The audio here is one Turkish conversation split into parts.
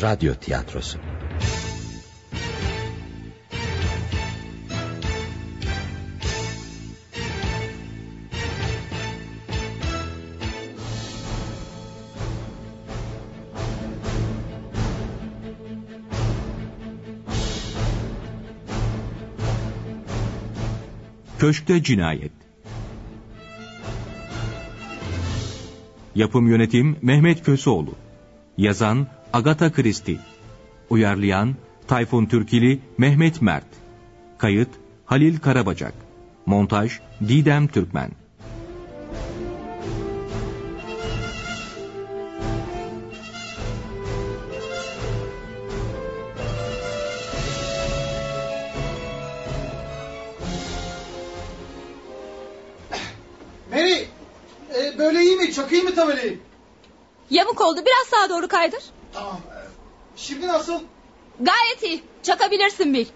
Radyo Tiyatrosu. Köşkte Cinayet Yapım Yönetim Mehmet Köseoğlu Yazan Agatha Christie Uyarlayan Tayfun Türkili Mehmet Mert Kayıt Halil Karabacak Montaj Didem Türkmen Mary, e, böyle iyi mi? Çakayım mı tabelayı? Yamuk oldu biraz sağa doğru kaydır. Tamam. e, Şimdi nasıl? Gayet iyi. Çakabilirsin Bil.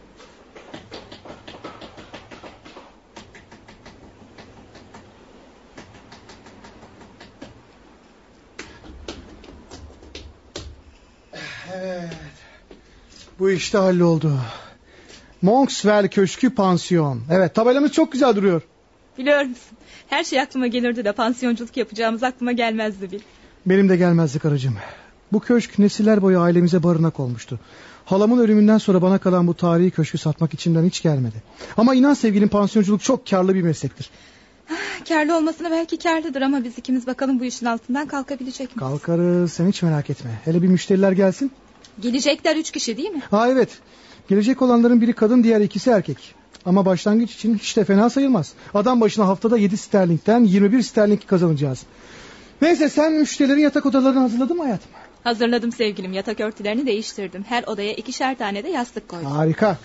Evet. Bu işte halloldu. Monkswell Köşkü Pansiyon. Evet tabelamız çok güzel duruyor. Biliyor musun? Her şey aklıma gelirdi de pansiyonculuk yapacağımız aklıma gelmezdi Bil. Benim de gelmezdi karıcığım. Bu köşk nesiller boyu ailemize barınak olmuştu. Halamın ölümünden sonra bana kalan bu tarihi köşkü satmak içimden hiç gelmedi. Ama inan sevgilim pansiyonculuk çok karlı bir meslektir. Kârlı olmasına belki kârlıdır ama biz ikimiz bakalım bu işin altından kalkabilecek mi? Kalkarız sen hiç merak etme. Hele bir müşteriler gelsin. Gelecekler üç kişi değil mi? Ha evet. Gelecek olanların biri kadın diğer ikisi erkek. Ama başlangıç için hiç de fena sayılmaz. Adam başına haftada 7 sterlinkten 21 sterling kazanacağız. Neyse sen müşterilerin yatak odalarını hazırladın mı hayatım? Hazırladım sevgilim yatak örtülerini değiştirdim. Her odaya ikişer tane de yastık koydum. Harika.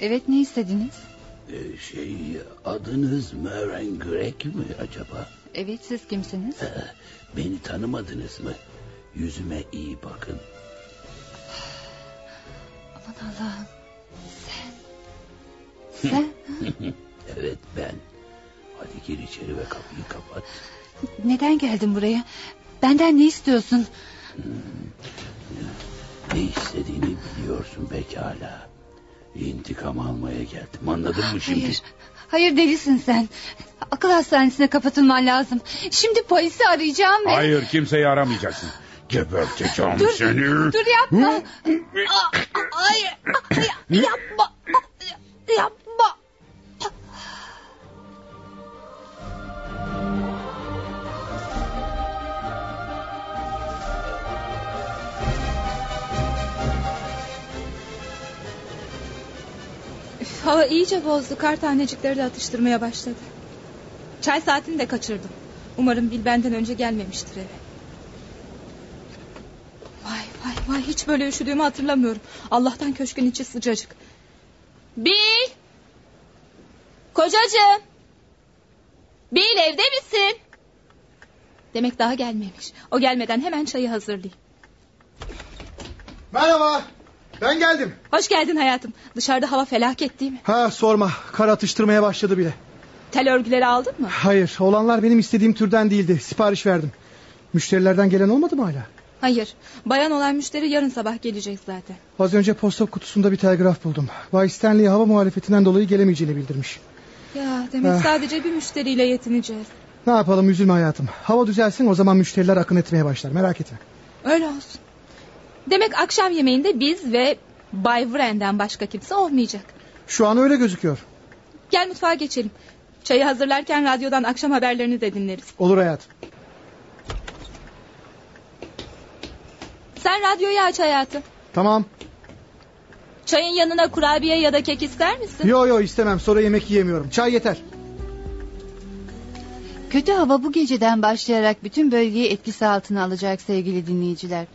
Evet ne istediniz? Ee, Şey adınız Mören Greg mi acaba? Evet siz kimsiniz? Beni tanımadınız mı? Yüzüme iyi bakın. Aman Allah'ım. Sen. Sen. Evet ben. Hadi gir içeri ve kapıyı kapat. Neden geldin buraya? Benden ne istiyorsun? Ne istediğini biliyorsun pekala. İntikam almaya geldim anladın mı şimdi? Hayır. Hayır delisin sen. Akıl hastanesine kapatılman lazım. Şimdi polisi arayacağım ve... Hayır kimseyi aramayacaksın. Geberteceğim Dur, seni. Dur yapma. Aa, Hayır. Hayır, Yapma. Yapma. Üf, hava iyice bozdu. Kar tanecikleri de atıştırmaya başladı. Çay saatini de kaçırdım. Umarım Bil benden önce gelmemiştir eve. Vay vay vay hiç böyle üşüdüğümü hatırlamıyorum. Allah'tan köşkün içi sıcacık. Bil! Kocacığım! Bil evde misin? Demek daha gelmemiş. O gelmeden hemen çayı hazırlayayım. Merhaba. Ben geldim. Hoş geldin hayatım. Dışarıda hava felaket değil mi? Ha sorma. Kar atıştırmaya başladı bile. Tel örgüleri aldın mı? Hayır olanlar benim istediğim türden değildi. Sipariş verdim. Müşterilerden gelen olmadı mı hala? Hayır. Bayan olan müşteri yarın sabah gelecek zaten. Az önce posta kutusunda bir telgraf buldum. Bay Stanley hava muhalefetinden dolayı gelemeyeceğini bildirmiş. Ya demek Ah. sadece bir müşteriyle yetineceğiz. Ne yapalım üzülme hayatım. Hava düzelsin o zaman müşteriler akın etmeye başlar merak etme. Öyle olsun. Demek akşam yemeğinde biz ve Bay Wren'den başka kimse olmayacak. Şu an öyle gözüküyor. Gel mutfağa geçelim. Çayı hazırlarken radyodan akşam haberlerini de dinleriz. Olur hayatım. Sen radyoyu aç hayatım. Tamam. Çayın yanına kurabiye ya da kek ister misin? Yo yo istemem sonra yemek yiyemiyorum. Çay yeter. Kötü hava bu geceden başlayarak bütün bölgeyi etkisi altına alacak sevgili dinleyiciler.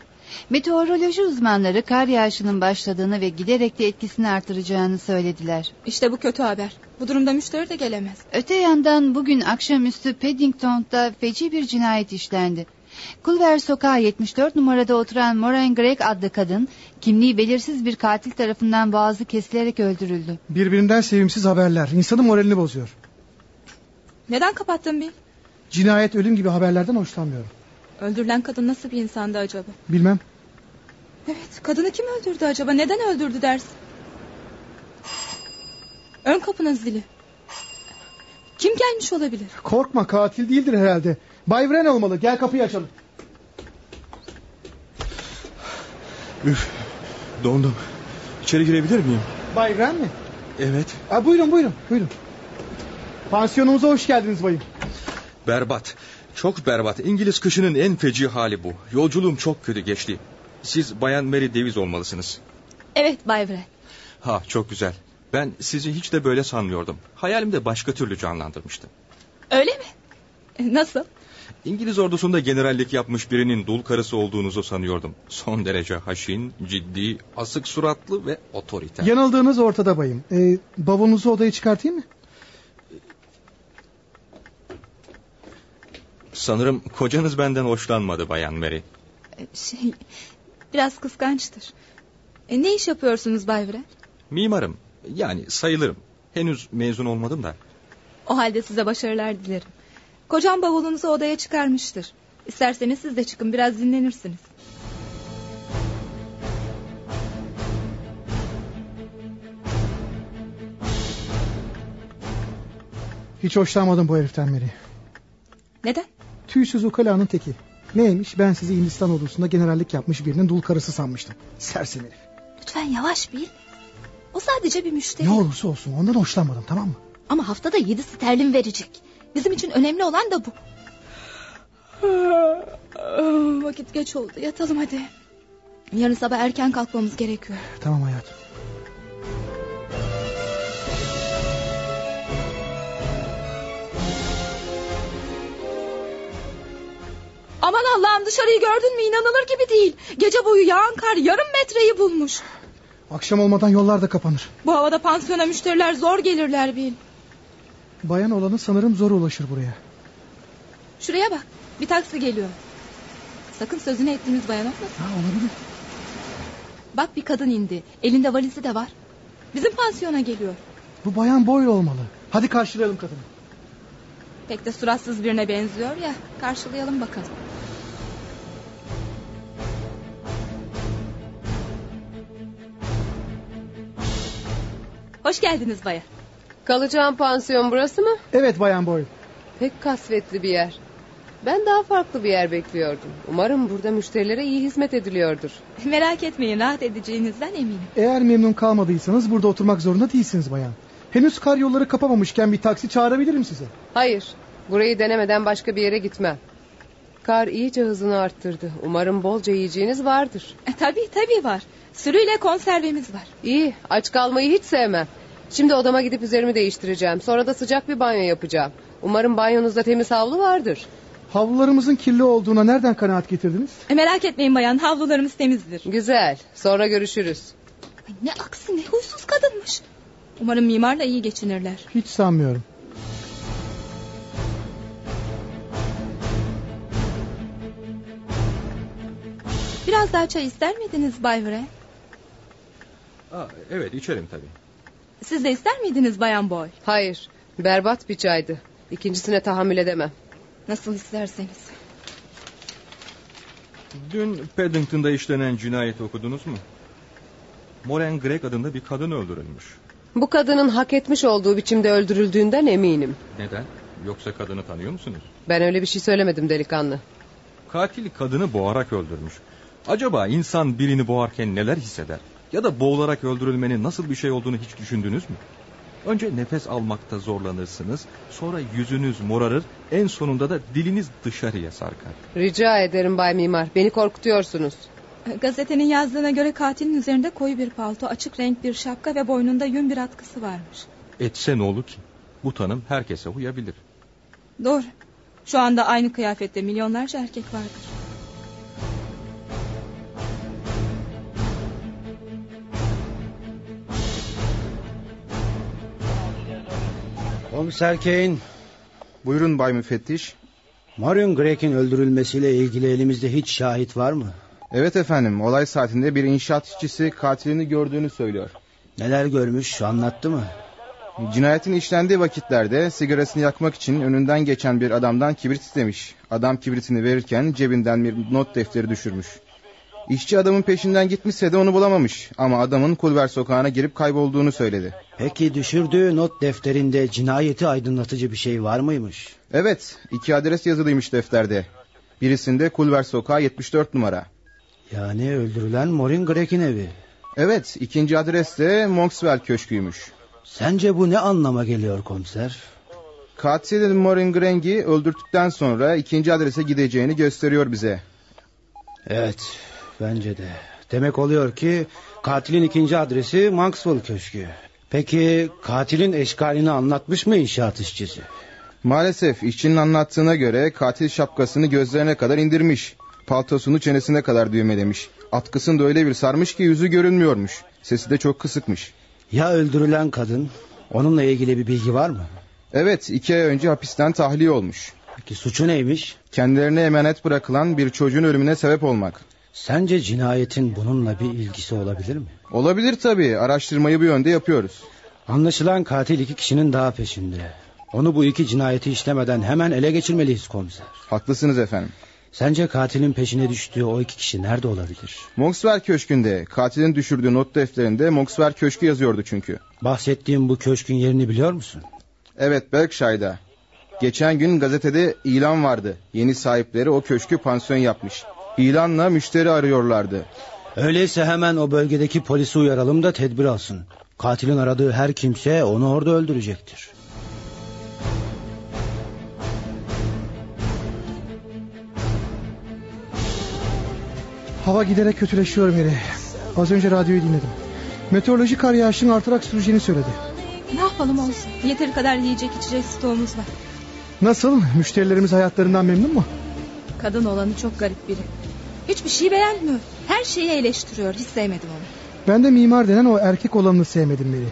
Meteoroloji uzmanları kar yağışının başladığını ve giderek de etkisini artıracağını söylediler. İşte bu kötü haber. Bu durumda müşteri de gelemez. Öte yandan bugün akşamüstü Paddington'da feci bir cinayet işlendi. Culver Sokağı 74 numarada oturan Moran Gregg adlı kadın kimliği belirsiz bir katil tarafından boğazı kesilerek öldürüldü. Birbirinden sevimsiz haberler insanın moralini bozuyor. Neden kapattın Bill? Cinayet ölüm gibi haberlerden hoşlanmıyorum. Öldürülen kadın nasıl bir insandı acaba? Bilmem. Evet, kadını kim öldürdü acaba? Neden öldürdü dersin? Ön kapının zili. Kim gelmiş olabilir? Korkma katil değildir herhalde. Bay Wren olmalı. Gel kapıyı açalım. Üf, dondum. İçeri girebilir miyim? Bay Wren mi? Evet. Ha, buyurun buyurun buyurun. Pansiyonumuza hoş geldiniz bayım. Berbat. Çok berbat. İngiliz kışının en feci hali bu. Yolculuğum çok kötü geçti. Siz Bayan Mary Davies olmalısınız. Evet Bay Wren. Ha çok güzel. Ben sizi hiç de böyle sanmıyordum. Hayalimde başka türlü canlandırmıştım. Öyle mi? E, Nasıl? İngiliz ordusunda generallik yapmış birinin dul karısı olduğunuzu sanıyordum. Son derece haşin, ciddi, asık suratlı ve otoriter. Yanıldığınız ortada bayım. Ee, bavulunuzu odaya çıkartayım mı? Sanırım kocanız benden hoşlanmadı Bayan Mary. E, Şey, biraz kıskançtır. E, ne iş yapıyorsunuz Bay Wren? Mimarım. Yani sayılırım. Henüz mezun olmadım da. O halde size başarılar dilerim. Kocam bavulunuzu odaya çıkarmıştır. İsterseniz siz de çıkın biraz dinlenirsiniz. Hiç hoşlanmadım bu heriften beri. Neden? Tüysüz ukalanın teki. Neymiş ben sizi Hindistan ordusunda generallik yapmış birinin dul karısı sanmıştım. Serseri herif. Lütfen yavaş Bill. O sadece bir müşteri. Ne olursa olsun ondan hoşlanmadım tamam mı? Ama haftada yedi sterlin verecek. Bizim için önemli olan da bu. Vakit geç oldu. Yatalım hadi. Yarın sabah erken kalkmamız gerekiyor. Tamam hayatım. Aman Allah'ım dışarıyı gördün mü inanılır gibi değil. Gece boyu yağan kar yarım metreyi bulmuş. Akşam olmadan yollar da kapanır. Bu havada pansiyona müşteriler zor gelirler Bill. Bayan olanı sanırım zor ulaşır buraya. Şuraya bak. Bir taksi geliyor. Sakın sözünü ettiğimiz bayan olmasın. Ha olabilir. Bak bir kadın indi. Elinde valizi de var. Bizim pansiyona geliyor. Bu bayan boy olmalı. Hadi karşılayalım kadını. Pek de suratsız birine benziyor ya. Karşılayalım bakalım. Hoş geldiniz bayan. Kalacağım pansiyon burası mı? Evet bayan boy. Pek kasvetli bir yer. Ben daha farklı bir yer bekliyordum. Umarım burada müşterilere iyi hizmet ediliyordur. Merak etmeyin rahat edeceğinizden eminim. Eğer memnun kalmadıysanız burada oturmak zorunda değilsiniz bayan. Henüz kar yolları kapamamışken bir taksi çağırabilirim size. Hayır, burayı denemeden başka bir yere gitmem. Kar iyice hızını arttırdı. Umarım bolca yiyeceğiniz vardır. E, tabii tabii var. Sürüyle konservemiz var. İyi, aç kalmayı hiç sevmem. Şimdi odama gidip üzerimi değiştireceğim. Sonra da sıcak bir banyo yapacağım. Umarım banyonuzda temiz havlu vardır. Havlularımızın kirli olduğuna nereden kanaat getirdiniz? E, merak etmeyin bayan havlularımız temizdir. Güzel, sonra görüşürüz. Ay, ne aksi ne huysuz kadınmış. Umarım mimarla iyi geçinirler. Hiç sanmıyorum. Biraz daha çay ister miydiniz Bay Wren? Aa, evet içerim tabii. Siz de ister miydiniz Bayan Boy? Hayır, berbat bir çaydı. İkincisine tahammül edemem. Nasıl isterseniz. Dün Paddington'da işlenen cinayeti okudunuz mu? Moran Gregg adında bir kadın öldürülmüş. Bu kadının hak etmiş olduğu biçimde öldürüldüğünden eminim. Neden? Yoksa kadını tanıyor musunuz? Ben öyle bir şey söylemedim delikanlı. Katil kadını boğarak öldürmüş. Acaba insan birini boğarken neler hisseder? Ya da boğularak öldürülmenin nasıl bir şey olduğunu hiç düşündünüz mü? Önce nefes almakta zorlanırsınız, sonra yüzünüz morarır, en sonunda da diliniz dışarıya sarkar. Rica ederim Bay Mimar, beni korkutuyorsunuz. Gazetenin yazdığına göre katilin üzerinde koyu bir palto, açık renk bir şapka ve boynunda yün bir atkısı varmış. Etse ne olur ki? Bu tanım herkese uyabilir. Doğru. Şu anda aynı kıyafette milyonlarca erkek vardır. Komiser Kane. Buyurun Bay Müfettiş. Marion Greg'in öldürülmesiyle ilgili elimizde hiç şahit var mı? Evet efendim. Olay saatinde bir inşaat işçisi katilini gördüğünü söylüyor. Neler görmüş anlattı mı? Cinayetin işlendiği vakitlerde sigarasını yakmak için önünden geçen bir adamdan kibrit istemiş. Adam kibritini verirken cebinden bir not defteri düşürmüş. İşçi adamın peşinden gitmişse de onu bulamamış ama adamın Kulver sokağına girip kaybolduğunu söyledi. Peki düşürdüğü not defterinde cinayeti aydınlatıcı bir şey var mıymış? Evet, iki adres yazılıymış defterde. Birisinde Kulver sokağı 74 numara. Yani öldürülen Morin Greg'in evi. Evet, ikinci adres de Monkswell Köşkü'ymüş. Sence bu ne anlama geliyor komiser? Katil Morin Greg'i öldürdükten sonra ikinci adrese gideceğini gösteriyor bize. Evet, bence de. Demek oluyor ki katilin ikinci adresi Maxwell Köşkü. Peki katilin eşkalini anlatmış mı inşaat işçisi? Maalesef işçinin anlattığına göre katil şapkasını gözlerine kadar indirmiş. Paltosunu çenesine kadar düğmelemiş. Atkısını da öyle bir sarmış ki yüzü görünmüyormuş. Sesi de çok kısıkmış. Ya öldürülen kadın? Onunla ilgili bir bilgi var mı? Evet iki ay önce hapisten tahliye olmuş. Peki suçu neymiş? Kendilerine emanet bırakılan bir çocuğun ölümüne sebep olmak. Sence cinayetin bununla bir ilgisi olabilir mi? Olabilir tabii. Araştırmayı bu yönde yapıyoruz. Anlaşılan katil iki kişinin daha peşinde. Onu bu iki cinayeti işlemeden hemen ele geçirmeliyiz komiser. Haklısınız efendim. Sence katilin peşine düştüğü o iki kişi nerede olabilir? Moksver Köşkü'nde. Katilin düşürdüğü not defterinde Moksver Köşkü yazıyordu çünkü. Bahsettiğim bu köşkün yerini biliyor musun? Evet Berkshire'da. Geçen gün gazetede ilan vardı. Yeni sahipleri o köşkü pansiyon yapmış. İlanla müşteri arıyorlardı. Öyleyse hemen o bölgedeki polisi uyaralım da tedbir alsın. Katilin aradığı her kimse onu orada öldürecektir. Hava giderek kötüleşiyor Mary. Az önce radyoyu dinledim. Meteoroloji kar yağışının artarak süreceğini söyledi. Ne yapalım olsun. Yeteri kadar yiyecek içecek stoğumuz var. Nasıl? Müşterilerimiz hayatlarından memnun mu? Kadın olanı çok garip biri. Hiçbir şeyi beğenmiyor. Her şeyi eleştiriyor. Hiç sevmedim onu. Ben de mimar denen o erkek olanını sevmedim Mary.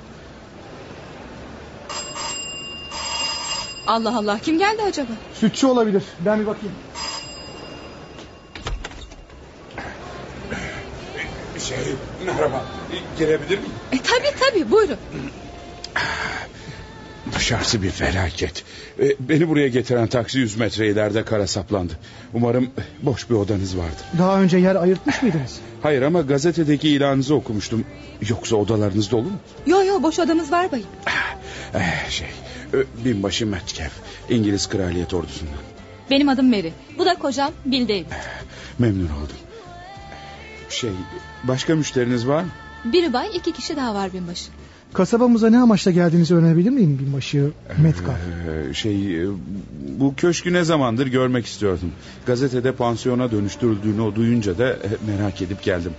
Allah Allah kim geldi acaba? Sütçü olabilir. Ben bir bakayım. Şey, merhaba. Girebilir miyim? E tabi tabi buyurun. Dışarısı bir felaket. E, Beni buraya getiren taksi 100 metre ileride kara saplandı. Umarım boş bir odanız vardır. Daha önce yer ayırtmış mıydınız? Hayır ama gazetedeki ilanınızı okumuştum. Yoksa odalarınız dolu mu? Yo yo boş odamız var bayım. Eh, şey, e, binbaşı Metcalf. İngiliz Kraliyet Ordusu'ndan. Benim adım Mary. Bu da kocam Bill David. Memnun oldum. Şey, başka müşteriniz var mı? Biri bay iki kişi daha var binbaşı. Kasabamıza ne amaçla geldiğinizi öğrenebilir miyim binbaşı Metcalf? Ee, şey e, bu köşkü ne zamandır görmek istiyordum. Gazetede pansiyona dönüştürüldüğünü o duyunca da e, merak edip geldim.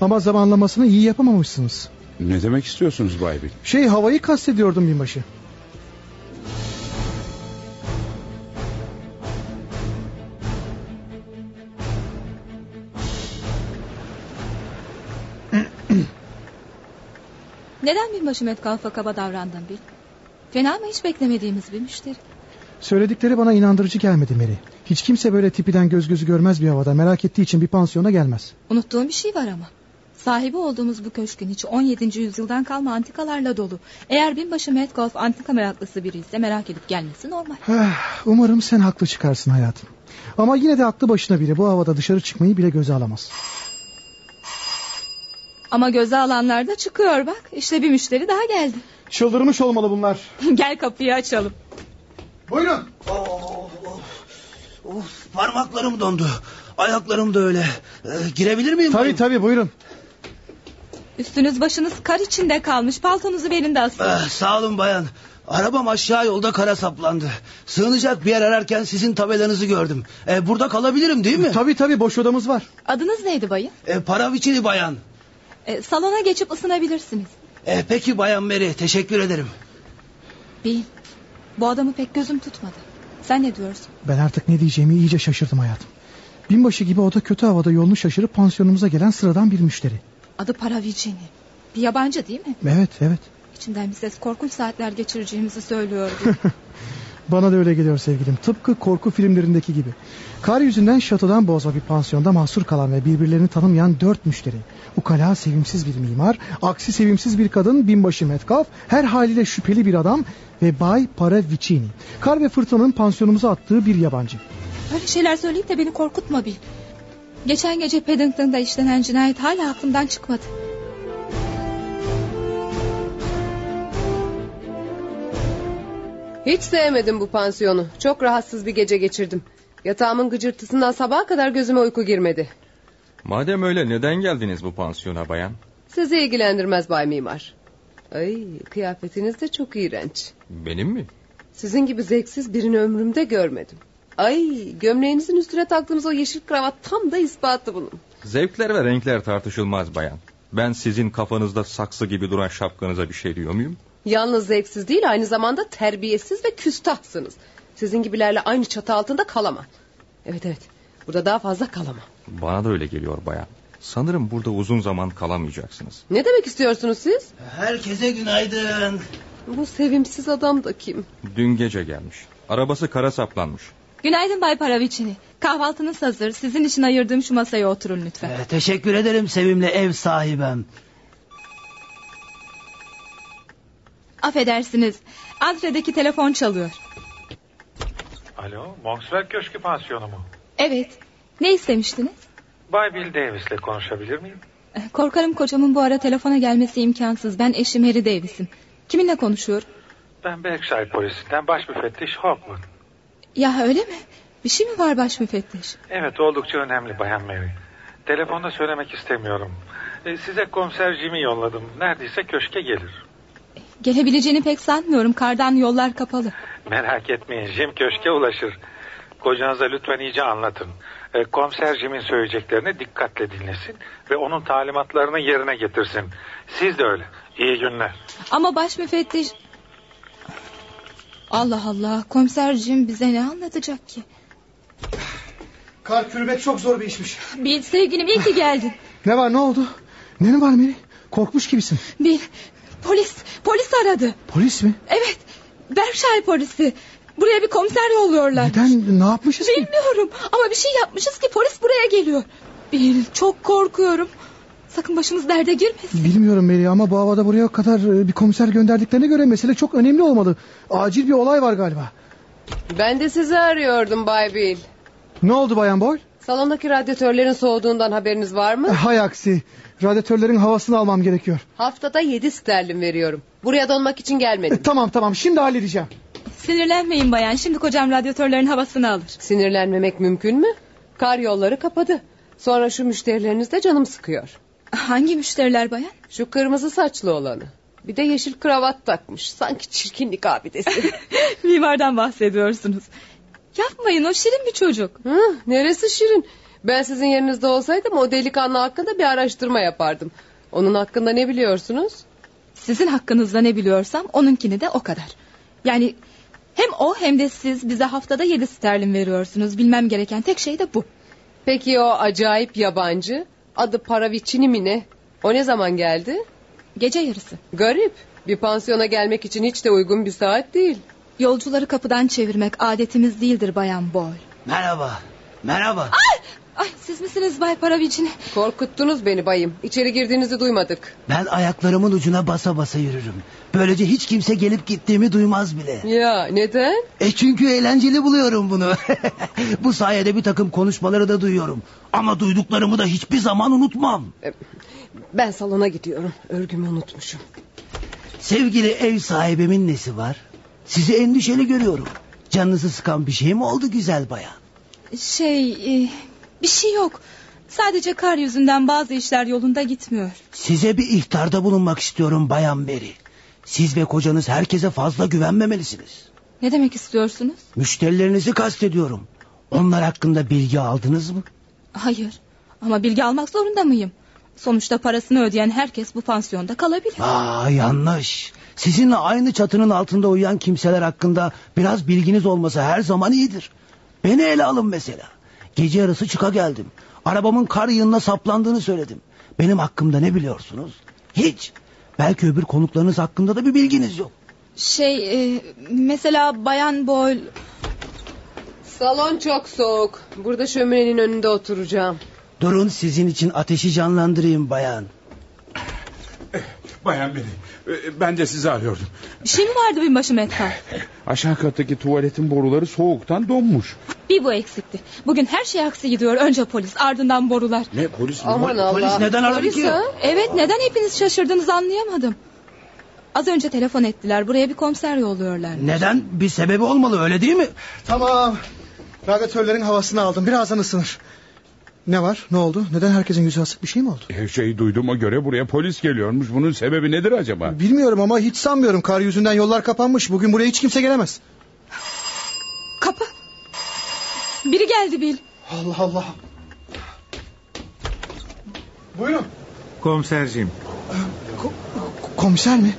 Ama zamanlamasını iyi yapamamışsınız. Ne demek istiyorsunuz Bay Bill? Şey havayı kastediyordum binbaşı. Neden binbaşı Metcalf'a kaba davrandın Bill? Fena mı hiç beklemediğimiz bir müşteri? Söyledikleri bana inandırıcı gelmedi Mary. Hiç kimse böyle tipiden göz gözü görmez bir havada. Merak ettiği için bir pansiyona gelmez. Unuttuğum bir şey var ama. Sahibi olduğumuz bu köşkün içi 17. yüzyıldan kalma antikalarla dolu. Eğer binbaşı Metcalf antika meraklısı biri ise merak edip gelmesi normal. Eh, Umarım sen haklı çıkarsın hayatım. Ama yine de aklı başına biri bu havada dışarı çıkmayı bile göze alamaz. Ama göze alanlar da çıkıyor bak. İşte bir müşteri daha geldi. Çıldırmış olmalı bunlar. Gel kapıyı açalım. Buyurun. Oh, Of parmaklarım dondu. Ayaklarım da öyle. Ee, girebilir miyim? Tabii tabii buyurun. Üstünüz başınız kar içinde kalmış. Paltonuzu verin de asın. Ah, sağ olun bayan. Arabam aşağı yolda kara saplandı. Sığınacak bir yer ararken sizin tabelanızı gördüm. Ee, burada kalabilirim değil mi? Tabii tabii boş odamız var. Adınız neydi bayım? Ee, Paraviçili bayan. E, salona geçip ısınabilirsiniz. Ee, peki bayan Mary teşekkür ederim. Bil. Bu adamı pek gözüm tutmadı. Sen ne diyorsun? Ben artık ne diyeceğimi iyice şaşırdım hayatım. Binbaşı gibi o da kötü havada yolunu şaşırıp pansiyonumuza gelen sıradan bir müşteri. Adı Paravicini. Bir yabancı değil mi? Evet evet. İçimden bir ses korkunç saatler geçireceğimizi söylüyordu. Bana da öyle geliyor sevgilim. Tıpkı korku filmlerindeki gibi. Kar yüzünden şatodan bozma bir pansiyonda mahsur kalan ve birbirlerini tanımayan dört müşteri. Ukala sevimsiz bir mimar, aksi sevimsiz bir kadın, binbaşı Metcalf, her haliyle şüpheli bir adam ve Bay Paravicini. Kar ve fırtınanın pansiyonumuza attığı bir yabancı. Böyle şeyler söyleyip de beni korkutma Bill. Geçen gece Paddington'da işlenen cinayet hala aklımdan çıkmadı. Hiç sevmedim bu pansiyonu. Çok rahatsız bir gece geçirdim. Yatağımın gıcırtısından sabaha kadar gözüme uyku girmedi. Madem öyle neden geldiniz bu pansiyona bayan? Sizi ilgilendirmez Bay Mimar. Ay kıyafetiniz de çok iğrenç. Benim mi? Sizin gibi zevksiz birini ömrümde görmedim. Ay gömleğinizin üstüne taktığınız o yeşil kravat tam da ispatı bunun. Zevkler ve renkler tartışılmaz bayan. Ben sizin kafanızda saksı gibi duran şapkanıza bir şey diyor muyum? Yalnız zevksiz değil aynı zamanda terbiyesiz ve küstahsınız. Sizin gibilerle aynı çatı altında kalamam. Evet evet burada daha fazla kalamam. Bana da öyle geliyor bayan. Sanırım burada uzun zaman kalamayacaksınız. Ne demek istiyorsunuz siz? Herkese günaydın. Bu sevimsiz adam da kim? Dün gece gelmiş. Arabası kara saplanmış. Günaydın Bay Paravicini. Kahvaltınız hazır. Sizin için ayırdığım şu masaya oturun lütfen. Eh, Ee, Teşekkür ederim sevimli ev sahibem. Affedersiniz. Antre'deki telefon çalıyor. Alo, Monkswell Köşkü Pansiyonu mu? Evet. Ne istemiştiniz? Bay Bill Davis'le konuşabilir miyim? Eh, Korkarım kocamın bu ara telefona gelmesi imkansız. Ben eşim Harry Davis'im. Kiminle konuşuyorum? Ben Berkshire polisinden baş müfettiş Hawkman. Ya öyle mi? Bir şey mi var baş müfettiş? Evet, oldukça önemli Bayan Mary. Telefonda söylemek istemiyorum. E, size komiser Jim'i yolladım. Neredeyse köşke gelir. Gelebileceğini pek sanmıyorum. Kardan yollar kapalı. Merak etmeyin, Jim köşke ulaşır. Kocanıza lütfen iyice anlatın. E, komiser Jim'in söyleyeceklerini dikkatle dinlesin ve onun talimatlarını yerine getirsin. Siz de öyle. İyi günler. Ama baş müfettiş... Allah Allah komiserciğim bize ne anlatacak ki? Kar kürümek çok zor bir işmiş. Bil sevgilim iyi ki geldin. Ne var ne oldu? Ne var Mary? Korkmuş gibisin. Bil polis polis aradı. Polis mi? Evet Berkshire polisi. Buraya bir komiser yolluyorlar. Neden? Ne yapmışız ki? Bilmiyorum ama bir şey yapmışız ki polis buraya geliyor. Bil çok korkuyorum. Sakın başımız derde girmesin. Bilmiyorum Mary ama bu havada buraya kadar e, bir komiser gönderdiklerine göre mesele çok önemli olmalı. Acil bir olay var galiba. Ben de sizi arıyordum Bay Bill. Ne oldu Bayan Boyle? Salondaki radyatörlerin soğuduğundan haberiniz var mı? Hay aksi. Radyatörlerin havasını almam gerekiyor. Haftada yedi sterlin veriyorum. Buraya donmak için gelmedim. E, Tamam tamam şimdi halledeceğim. Sinirlenmeyin bayan şimdi kocam radyatörlerin havasını alır. Sinirlenmemek mümkün mü? Kar yolları kapadı. Sonra şu müşterileriniz de canım sıkıyor. Hangi müşteriler bayan? Şu kırmızı saçlı olanı. Bir de yeşil kravat takmış. Sanki çirkinlik abidesi. Mimardan bahsediyorsunuz. Yapmayın o şirin bir çocuk. Hı, neresi şirin? Ben sizin yerinizde olsaydım o delikanlı hakkında bir araştırma yapardım. Onun hakkında ne biliyorsunuz? Sizin hakkınızda ne biliyorsam onunkini de o kadar. Yani hem o hem de siz bize haftada yedi sterlin veriyorsunuz. Bilmem gereken tek şey de bu. Peki o acayip yabancı? Adı Paravicini mi ne? O ne zaman geldi? Gece yarısı. Garip. Bir pansiyona gelmek için hiç de uygun bir saat değil. Yolcuları kapıdan çevirmek adetimiz değildir bayan Boyle. Merhaba. Merhaba. Ay! Ay siz misiniz Bay Paravicini? Korkuttunuz beni bayım. İçeri girdiğinizi duymadık. Ben ayaklarımın ucuna basa basa yürürüm. Böylece hiç kimse gelip gittiğimi duymaz bile. Ya neden? E çünkü eğlenceli buluyorum bunu. Bu sayede bir takım konuşmaları da duyuyorum. Ama duyduklarımı da hiçbir zaman unutmam. Ben salona gidiyorum. Örgümü unutmuşum. Sevgili ev sahibimin nesi var? Sizi endişeli görüyorum. Canınızı sıkan bir şey mi oldu güzel bayan? Şey e, bir şey yok. Sadece kar yüzünden bazı işler yolunda gitmiyor. Size bir ihtarda bulunmak istiyorum bayan Mary. Siz ve kocanız herkese fazla güvenmemelisiniz. Ne demek istiyorsunuz? Müşterilerinizi kastediyorum. Onlar hakkında bilgi aldınız mı? Hayır ama bilgi almak zorunda mıyım? Sonuçta parasını ödeyen herkes bu pansiyonda kalabilir. Aa yanlış. Sizinle aynı çatının altında uyuyan kimseler hakkında biraz bilginiz olması her zaman iyidir. Beni ele alın mesela. Gece yarısı çıka geldim. Arabamın kar yığınına saplandığını söyledim. Benim hakkımda ne biliyorsunuz? Hiç. Belki öbür konuklarınız hakkında da bir bilginiz yok. Şey e, mesela Bayan Boyle Salon çok soğuk. Burada şöminenin önünde oturacağım. Durun sizin için ateşi canlandırayım bayan. Bayan beni. Ben de sizi arıyordum. bir şey mi vardı binbaşı Metcalf? Aşağı kattaki tuvaletin boruları soğuktan donmuş. Bir bu eksikti. Bugün her şey aksi gidiyor. Önce polis ardından borular. Ne polis mi? Aman Allah. Polis ha? Evet neden hepiniz şaşırdınız anlayamadım. Az önce telefon ettiler. Buraya bir komiser yolluyorlar. Neden? Bir sebebi olmalı öyle değil mi? Tamam. Radyatörlerin havasını aldım. Birazdan ısınır. Ne var? Ne oldu? Neden herkesin yüzü asık bir şey mi oldu? Her şeyi duyduğuma göre buraya polis geliyormuş. Bunun sebebi nedir acaba? Bilmiyorum ama hiç sanmıyorum. Kar yüzünden yollar kapanmış. Bugün buraya hiç kimse gelemez. Kapı. Biri geldi Bil. Allah Allah. Buyurun. Komiserciğim. E, komiser mi?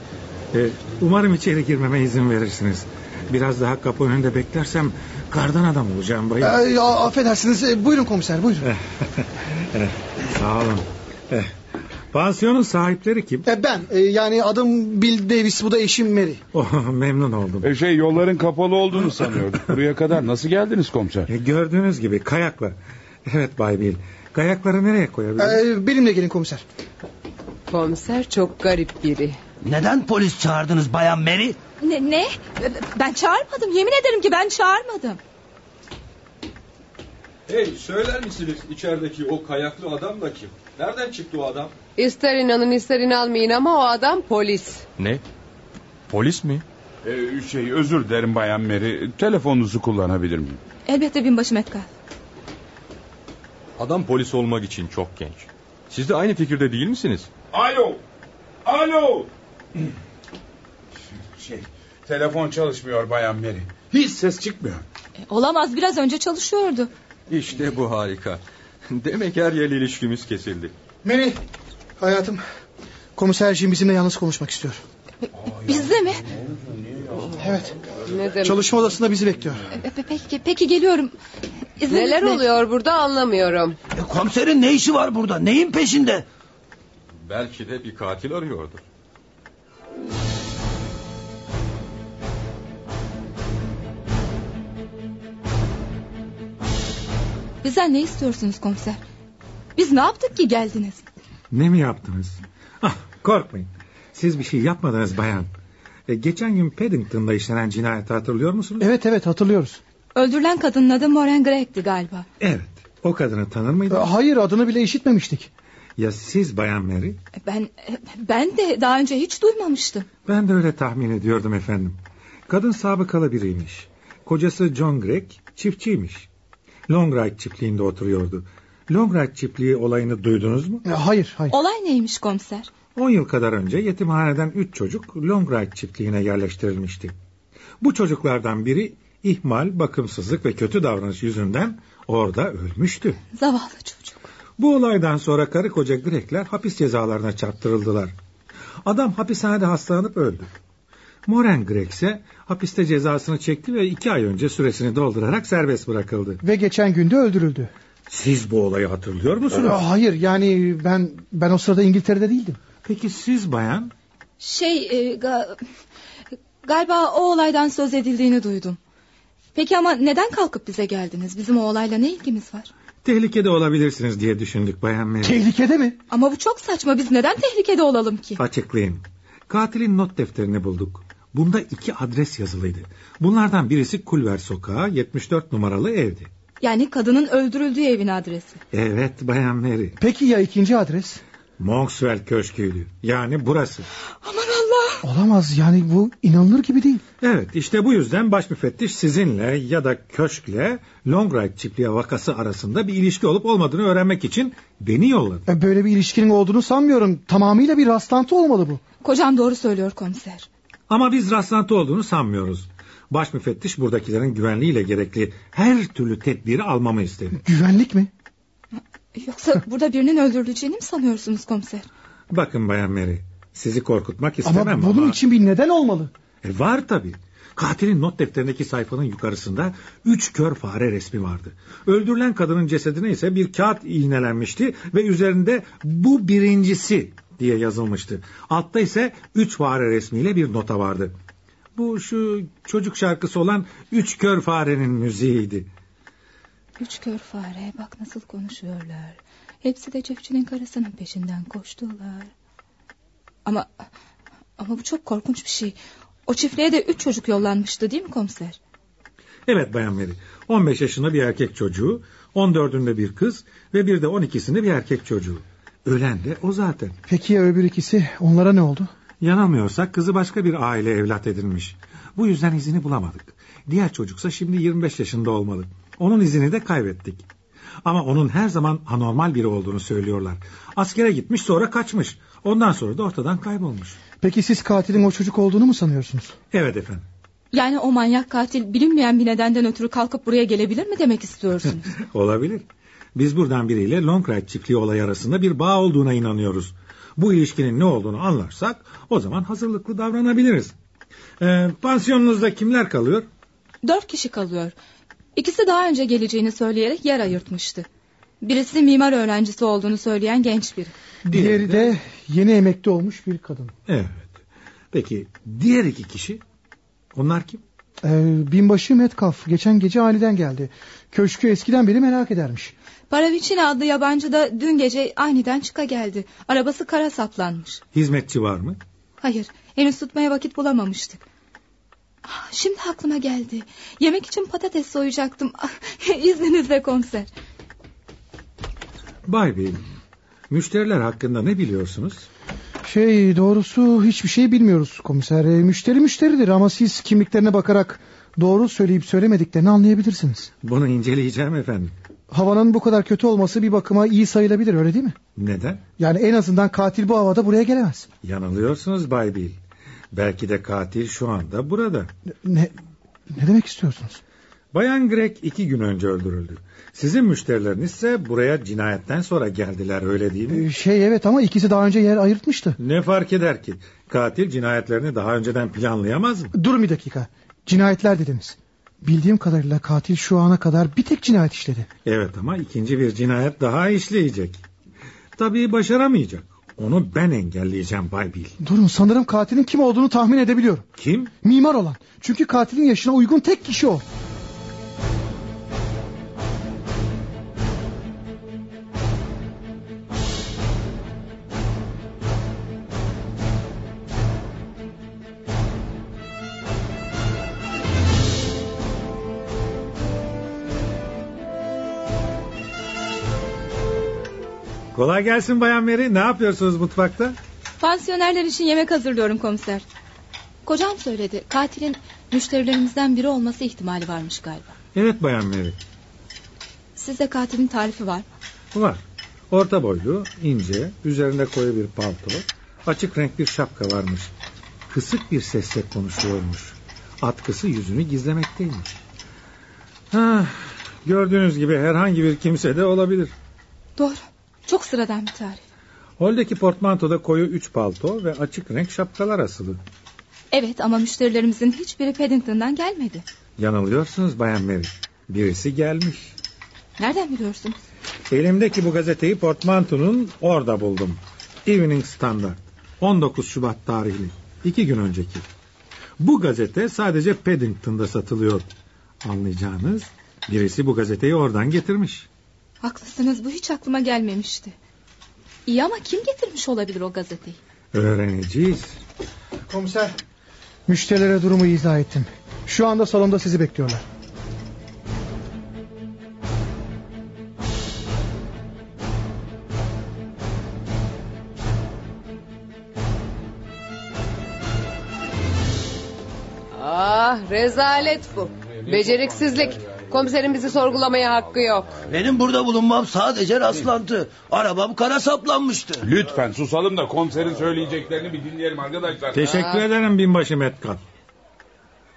umarım içeri girmeme izin verirsiniz. Biraz daha kapı önünde beklersem kardan adam olacağım bayım. Ee, ya, affedersiniz. Ee, Buyurun komiser buyurun. Eh, Sağ olun. Eh, Pansiyonun sahipleri kim? Ee, ben e, yani adım Bill Davis bu da eşim Mary. Oh, memnun oldum. E, şey yolların kapalı olduğunu sanıyordum. Buraya kadar nasıl geldiniz komiser? E, gördüğünüz gibi kayakla. Evet Bay Bill. Kayakları nereye koyabiliriz? Ee, benimle gelin komiser. Komiser çok garip biri. Neden polis çağırdınız bayan Mary? Ne, ne? Ben çağırmadım. Yemin ederim ki ben çağırmadım. Hey söyler misiniz içerideki o kayaklı adam da kim? Nereden çıktı o adam? İster inanın ister inanmayın ama o adam polis. Ne? Polis mi? E, şey özür dilerim bayan Mary. Telefonunuzu kullanabilir miyim? Elbette binbaşı Metcalf. Adam polis olmak için çok genç. Siz de aynı fikirde değil misiniz? Alo. Alo. Şey telefon çalışmıyor bayan Mary. Hiç ses çıkmıyor. E, Olamaz biraz önce çalışıyordu. İşte bu harika. Demek her yerle ilişkimiz kesildi. Mary hayatım komiserciğim bizimle yalnız konuşmak istiyor. Bizde mi? Evet. Ne demek? Çalışma odasında bizi bekliyor. E, pe- Peki, peki geliyorum. İzninizle. Neler oluyor burada anlamıyorum. E, komiserin ne işi var burada? Neyin peşinde? Belki de bir katil arıyordu. Bizden ne istiyorsunuz komiser? Biz ne yaptık ki geldiniz? Ne mi yaptınız? Ah, korkmayın. Siz bir şey yapmadınız bayan. E, geçen gün Paddington'da işlenen cinayeti hatırlıyor musunuz? Evet evet hatırlıyoruz. Öldürülen kadının adı Moran Gregg'ti galiba. Evet. O kadını tanır mıydınız? Ee, Hayır adını bile işitmemiştik. Ya siz bayan Mary? E, Ben e, ben de daha önce hiç duymamıştım. Ben de öyle tahmin ediyordum efendim. Kadın sabıkalı biriymiş. Kocası John Gregg çiftçiymiş. Longright çiftliğinde oturuyordu. Longright çiftliği olayını duydunuz mu? Ee, Hayır, hayır. Olay neymiş komiser? 10 yıl kadar önce yetimhaneden 3 çocuk Longright çiftliğine yerleştirilmişti. Bu çocuklardan biri ihmal, bakımsızlık ve kötü davranış yüzünden orada ölmüştü. Zavallı Bu olaydan sonra karı koca Grekler hapis cezalarına çarptırıldılar. Adam hapishanede hastalanıp öldü. Moren Grek ise hapiste cezasını çekti ve iki ay önce süresini doldurarak serbest bırakıldı. Ve geçen günde öldürüldü. Siz bu olayı hatırlıyor Ee, musunuz? Hayır yani ben ben o sırada İngiltere'de değildim. Peki siz bayan? Şey e, ga- galiba o olaydan söz edildiğini duydum. Peki ama neden kalkıp bize geldiniz? Bizim o olayla ne ilgimiz var? Tehlikede olabilirsiniz diye düşündük bayan Mary. Hmm. Tehlikede mi? Ama bu çok saçma. Biz neden tehlikede olalım ki? Açıklayın. Katilin not defterini bulduk. Bunda iki adres yazılıydı. Bunlardan birisi Kulver Sokağı 74 numaralı evdi. Yani kadının öldürüldüğü evin adresi. Evet bayan Mary. Peki ya ikinci adres? Monkswell Köşkü'ydü. Yani burası. Olamaz yani bu inanılır gibi değil. Evet işte bu yüzden baş müfettiş sizinle ya da köşkle Longright çiftliği vakası arasında bir ilişki olup olmadığını öğrenmek için beni yolladı. E, Böyle bir ilişkinin olduğunu sanmıyorum. Tamamıyla bir rastlantı olmalı bu. Kocam doğru söylüyor komiser. Ama biz rastlantı olduğunu sanmıyoruz. Baş müfettiş buradakilerin güvenliğiyle gerekli her türlü tedbiri almamı istedi. Güvenlik mi? Yoksa burada birinin öldürüleceğini mi sanıyorsunuz komiser? Bakın Bayan Mary sizi korkutmak Ama istemem ama... bunun için bir neden olmalı. E, var tabii. Katilin not defterindeki sayfanın yukarısında üç kör fare resmi vardı. Öldürülen kadının cesedine ise bir kağıt iğnelenmişti ve üzerinde bu birincisi diye yazılmıştı. Altta ise üç fare resmiyle bir nota vardı. Bu şu çocuk şarkısı olan Üç Kör Fare'nin müziğiydi. Üç kör fare bak nasıl konuşuyorlar. Hepsi de çiftçinin karısının peşinden koştular. Ama ama bu çok korkunç bir şey. O çiftliğe de üç çocuk yollanmıştı değil mi komiser? Evet Bayan Mary. 15 yaşında bir erkek çocuğu, 14'ünde bir kız ve bir de 12'sinde bir erkek çocuğu. Ölen de o zaten. Peki ya öbür ikisi? Onlara ne oldu? Yanılmıyorsak kızı başka bir aile evlat edinmiş. Bu yüzden izini bulamadık. Diğer çocuksa şimdi 25 yaşında olmalı. Onun izini de kaybettik. Ama onun her zaman anormal biri olduğunu söylüyorlar. Askere gitmiş sonra kaçmış. Ondan sonra da ortadan kaybolmuş. Peki siz katilin o çocuk olduğunu mu sanıyorsunuz? Evet efendim. Yani o manyak katil bilinmeyen bir nedenden ötürü kalkıp buraya gelebilir mi demek istiyorsunuz? Olabilir. Biz buradan biriyle Longright çiftliği olayı arasında bir bağ olduğuna inanıyoruz. Bu ilişkinin ne olduğunu anlarsak o zaman hazırlıklı davranabiliriz. Ee, pansiyonunuzda kimler kalıyor? Dört kişi kalıyor. İkisi daha önce geleceğini söyleyerek yer ayırtmıştı. Birisi mimar öğrencisi olduğunu söyleyen genç biri. Diğeri de yeni emekli olmuş bir kadın. Evet. Peki diğer iki kişi? Onlar kim? Ee, binbaşı Metcalf geçen gece aileden geldi. Köşkü eskiden beri merak edermiş. Paravicini adlı yabancı da dün gece aniden çıka geldi. Arabası kara saplanmış. Hizmetçi var mı? Hayır henüz tutmaya vakit bulamamıştık. Ah, Şimdi aklıma geldi. Yemek için patates soyacaktım. Ah, İzninizle komiser. Bay Bey, müşteriler hakkında ne biliyorsunuz? Şey doğrusu hiçbir şey bilmiyoruz komiser. Ee, Müşteri müşteridir ama siz kimliklerine bakarak doğru söyleyip söylemediklerini anlayabilirsiniz. Bunu inceleyeceğim efendim. Havanın bu kadar kötü olması bir bakıma iyi sayılabilir öyle değil mi? Neden? Yani en azından katil bu havada buraya gelemez. Yanılıyorsunuz Bay Bill. Belki de katil şu anda burada. Ne, ne demek istiyorsunuz? Bayan Greg iki gün önce öldürüldü. Sizin müşterileriniz ise buraya cinayetten sonra geldiler öyle değil mi? Ee, Şey evet ama ikisi daha önce yer ayırtmıştı. Ne fark eder ki? Katil cinayetlerini daha önceden planlayamaz mı? Dur bir dakika. Cinayetler dediniz. Bildiğim kadarıyla katil şu ana kadar bir tek cinayet işledi. Evet ama ikinci bir cinayet daha işleyecek. Tabii başaramayacak. Onu ben engelleyeceğim Bay Bill. Durun sanırım katilin kim olduğunu tahmin edebiliyorum. Kim? Mimar olan. Çünkü katilin yaşına uygun tek kişi o. Kolay gelsin Bayan Mary. Ne yapıyorsunuz mutfakta? Pansiyonerler için yemek hazırlıyorum komiser. Kocam söyledi. Katilin müşterilerimizden biri olması ihtimali varmış galiba. Evet Bayan Mary. Sizde katilin tarifi var mı? Var. Orta boylu, ince, üzerinde koyu bir palto, açık renk bir şapka varmış. Kısık bir sesle konuşuyormuş. Atkısı yüzünü gizlemekteymiş. Ah, gördüğünüz gibi herhangi bir kimse de olabilir. Doğru. Çok sıradan bir tarif. Holdeki portmantoda koyu üç palto ve açık renk şapkalar asılı. Evet ama müşterilerimizin hiçbiri Paddington'dan gelmedi. Yanılıyorsunuz Bayan Mary. Birisi gelmiş. Nereden biliyorsun? Elimdeki bu gazeteyi portmantonun orada buldum. Evening Standard. 19 Şubat tarihli. İki gün önceki. Bu gazete sadece Paddington'da satılıyor. Anlayacağınız birisi bu gazeteyi oradan getirmiş. Haklısınız bu hiç aklıma gelmemişti. İyi ama kim getirmiş olabilir o gazeteyi? Öğreneceğiz. Komiser. Müşterilere durumu izah ettim. Şu anda salonda sizi bekliyorlar. Ah rezalet bu. Beceriksizlik. Komiserin bizi sorgulamaya hakkı yok. Benim burada bulunmam sadece rastlantı. Arabam kara saplanmıştı. Lütfen susalım da komiserin söyleyeceklerini bir dinleyelim arkadaşlar. Teşekkür ederim binbaşı Metcalf.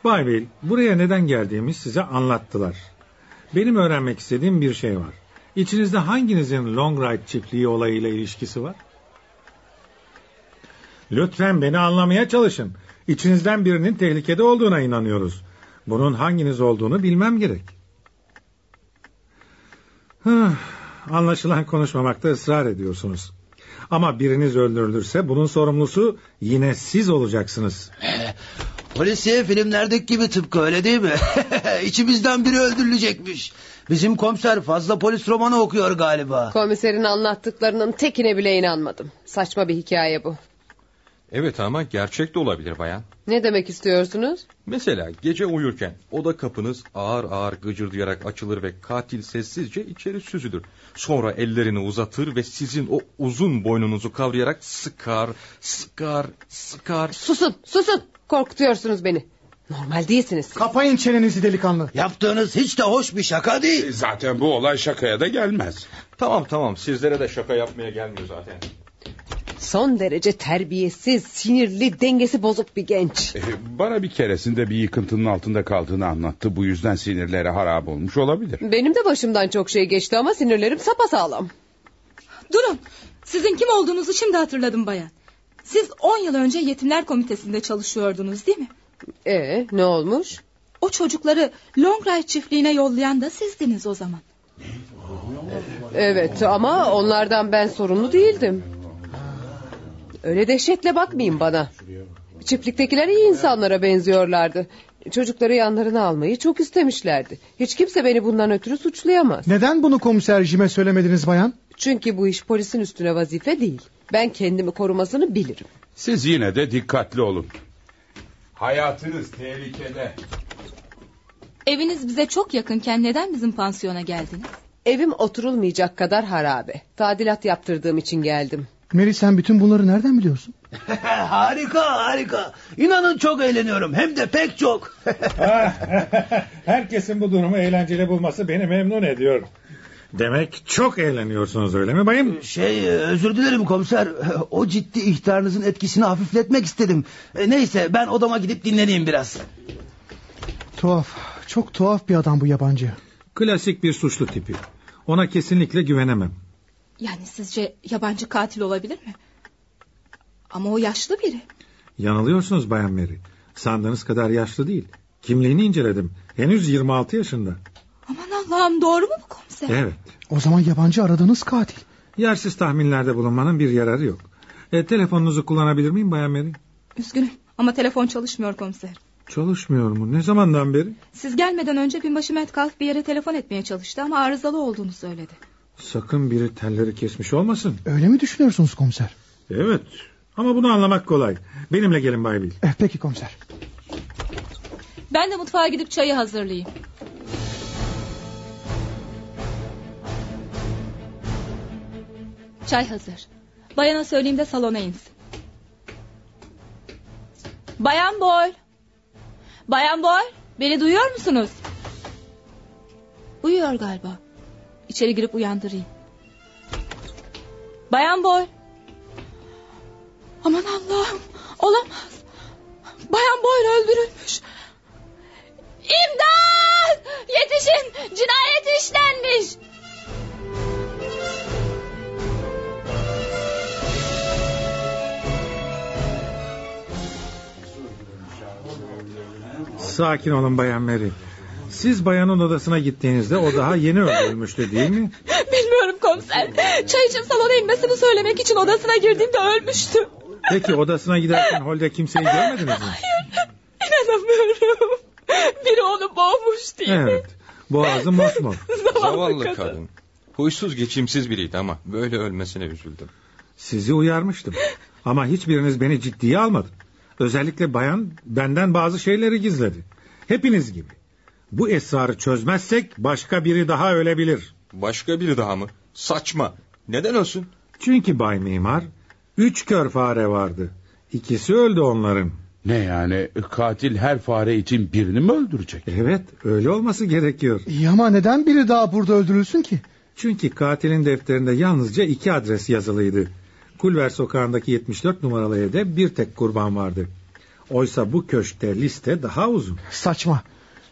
Bay Bill, buraya neden geldiğimi size anlattılar. Benim öğrenmek istediğim bir şey var. İçinizde hanginizin Longright çiftliği olayıyla ilişkisi var? Lütfen beni anlamaya çalışın. İçinizden birinin tehlikede olduğuna inanıyoruz. Bunun hanginiz olduğunu bilmem gerek. Hıh, Anlaşılan konuşmamakta ısrar ediyorsunuz. Ama biriniz öldürülürse bunun sorumlusu yine siz olacaksınız. Polisiye filmlerdeki gibi tıpkı öyle değil mi? İçimizden biri öldürülecekmiş. Bizim komiser fazla polis romanı okuyor galiba. Komiserin anlattıklarının tekine bile inanmadım. Saçma bir hikaye bu. Evet ama gerçek de olabilir bayan. Ne demek istiyorsunuz? Mesela gece uyurken oda kapınız ağır ağır gıcırdayarak açılır ve katil sessizce içeri süzülür. Sonra ellerini uzatır ve sizin o uzun boynunuzu kavrayarak sıkar, sıkar, sıkar. Susun, susun. Korkutuyorsunuz beni. Normal değilsiniz. Kapayın çenenizi delikanlı. Yaptığınız hiç de hoş bir şaka değil. E, Zaten bu olay şakaya da gelmez. Tamam tamam sizlere de şaka yapmaya gelmiyor zaten. Son derece terbiyesiz, sinirli, dengesi bozuk bir genç. Ee, Bana bir keresinde bir yıkıntının altında kaldığını anlattı. Bu yüzden sinirlere harap olmuş olabilir. Benim de başımdan çok şey geçti ama sinirlerim sapasağlam. Durun. Sizin kim olduğunuzu şimdi hatırladım bayan. Siz 10 yıl önce yetimler komitesinde çalışıyordunuz değil mi? Ee, ne olmuş? O çocukları Longright çiftliğine yollayan da sizdiniz o zaman. Evet ama onlardan ben sorumlu değildim. Öyle dehşetle bakmayın bana. Çiftliktekiler iyi insanlara benziyorlardı. Çocukları yanlarına almayı çok istemişlerdi. Hiç kimse beni bundan ötürü suçlayamaz. Neden bunu komiser Jim'e söylemediniz bayan? Çünkü bu iş polisin üstüne vazife değil. Ben kendimi korumasını bilirim. Siz yine de dikkatli olun. Hayatınız tehlikede. Eviniz bize çok yakınken neden bizim pansiyona geldiniz? Evim oturulmayacak kadar harabe. Tadilat yaptırdığım için geldim. Mary sen bütün bunları nereden biliyorsun? harika harika. İnanın çok eğleniyorum. Hem de pek çok. Herkesin bu durumu eğlenceli bulması beni memnun ediyor. Demek çok eğleniyorsunuz öyle mi bayım? Şey özür dilerim komiser. O ciddi ihtarınızın etkisini hafifletmek istedim. E, Neyse ben odama gidip dinleneyim biraz. Tuhaf. Çok tuhaf bir adam bu yabancı. Klasik bir suçlu tipi. Ona kesinlikle güvenemem. Yani sizce yabancı katil olabilir mi? Ama o yaşlı biri. Yanılıyorsunuz Bayan Mary. Sandığınız kadar yaşlı değil. Kimliğini inceledim. Henüz 26 yaşında. Aman Allah'ım doğru mu bu komiser? Evet. O zaman yabancı aradığınız katil. Yersiz tahminlerde bulunmanın bir yararı yok. E, telefonunuzu kullanabilir miyim Bayan Mary? Üzgünüm ama telefon çalışmıyor komiser. Çalışmıyor mu? Ne zamandan beri? Siz gelmeden önce binbaşı Metcalf bir yere telefon etmeye çalıştı ama arızalı olduğunu söyledi. Sakın biri telleri kesmiş olmasın. Öyle mi düşünüyorsunuz komiser? Evet. Ama bunu anlamak kolay. Benimle gelin Bay Bill. Eh, peki komiser. Ben de mutfağa gidip çayı hazırlayayım. Çay hazır. Bayana söyleyeyim de salona insin. Bayan Boyle. Bayan Boyle beni duyuyor musunuz? Uyuyor galiba. İçeri girip uyandırayım. Bayan Boyle. Aman Allah'ım olamaz. Bayan Boyle öldürülmüş. İmdat! Yetişin! Cinayet işlenmiş! Sakin olun Bayan Mary. Siz bayanın odasına gittiğinizde o daha yeni öldürülmüştü değil mi? Bilmiyorum komiser. Çay için salona inmesini söylemek için odasına girdiğimde ölmüştü. Peki odasına giderken holde kimseyi görmediniz mi? İnanamıyorum. Biri onu boğmuş diye. Evet. Boğazı mosmor. Zavallı Zavallı kadın. Huysuz geçimsiz biriydi ama böyle ölmesine üzüldüm. Sizi uyarmıştım. Ama hiçbiriniz beni ciddiye almadı. Özellikle bayan benden bazı şeyleri gizledi. Hepiniz gibi. Bu esrarı çözmezsek başka biri daha ölebilir. Başka biri daha mı? Saçma. Neden ölsün? Çünkü Bay Mimar üç kör fare vardı. İkisi öldü onların. Ne yani katil her fare için birini mi öldürecek? Evet öyle olması gerekiyor. İyi ama neden biri daha burada öldürülsün ki? Çünkü katilin defterinde yalnızca iki adres yazılıydı. Kulver sokağındaki 74 numaralı evde bir tek kurban vardı. Oysa bu köşkte liste daha uzun. Saçma.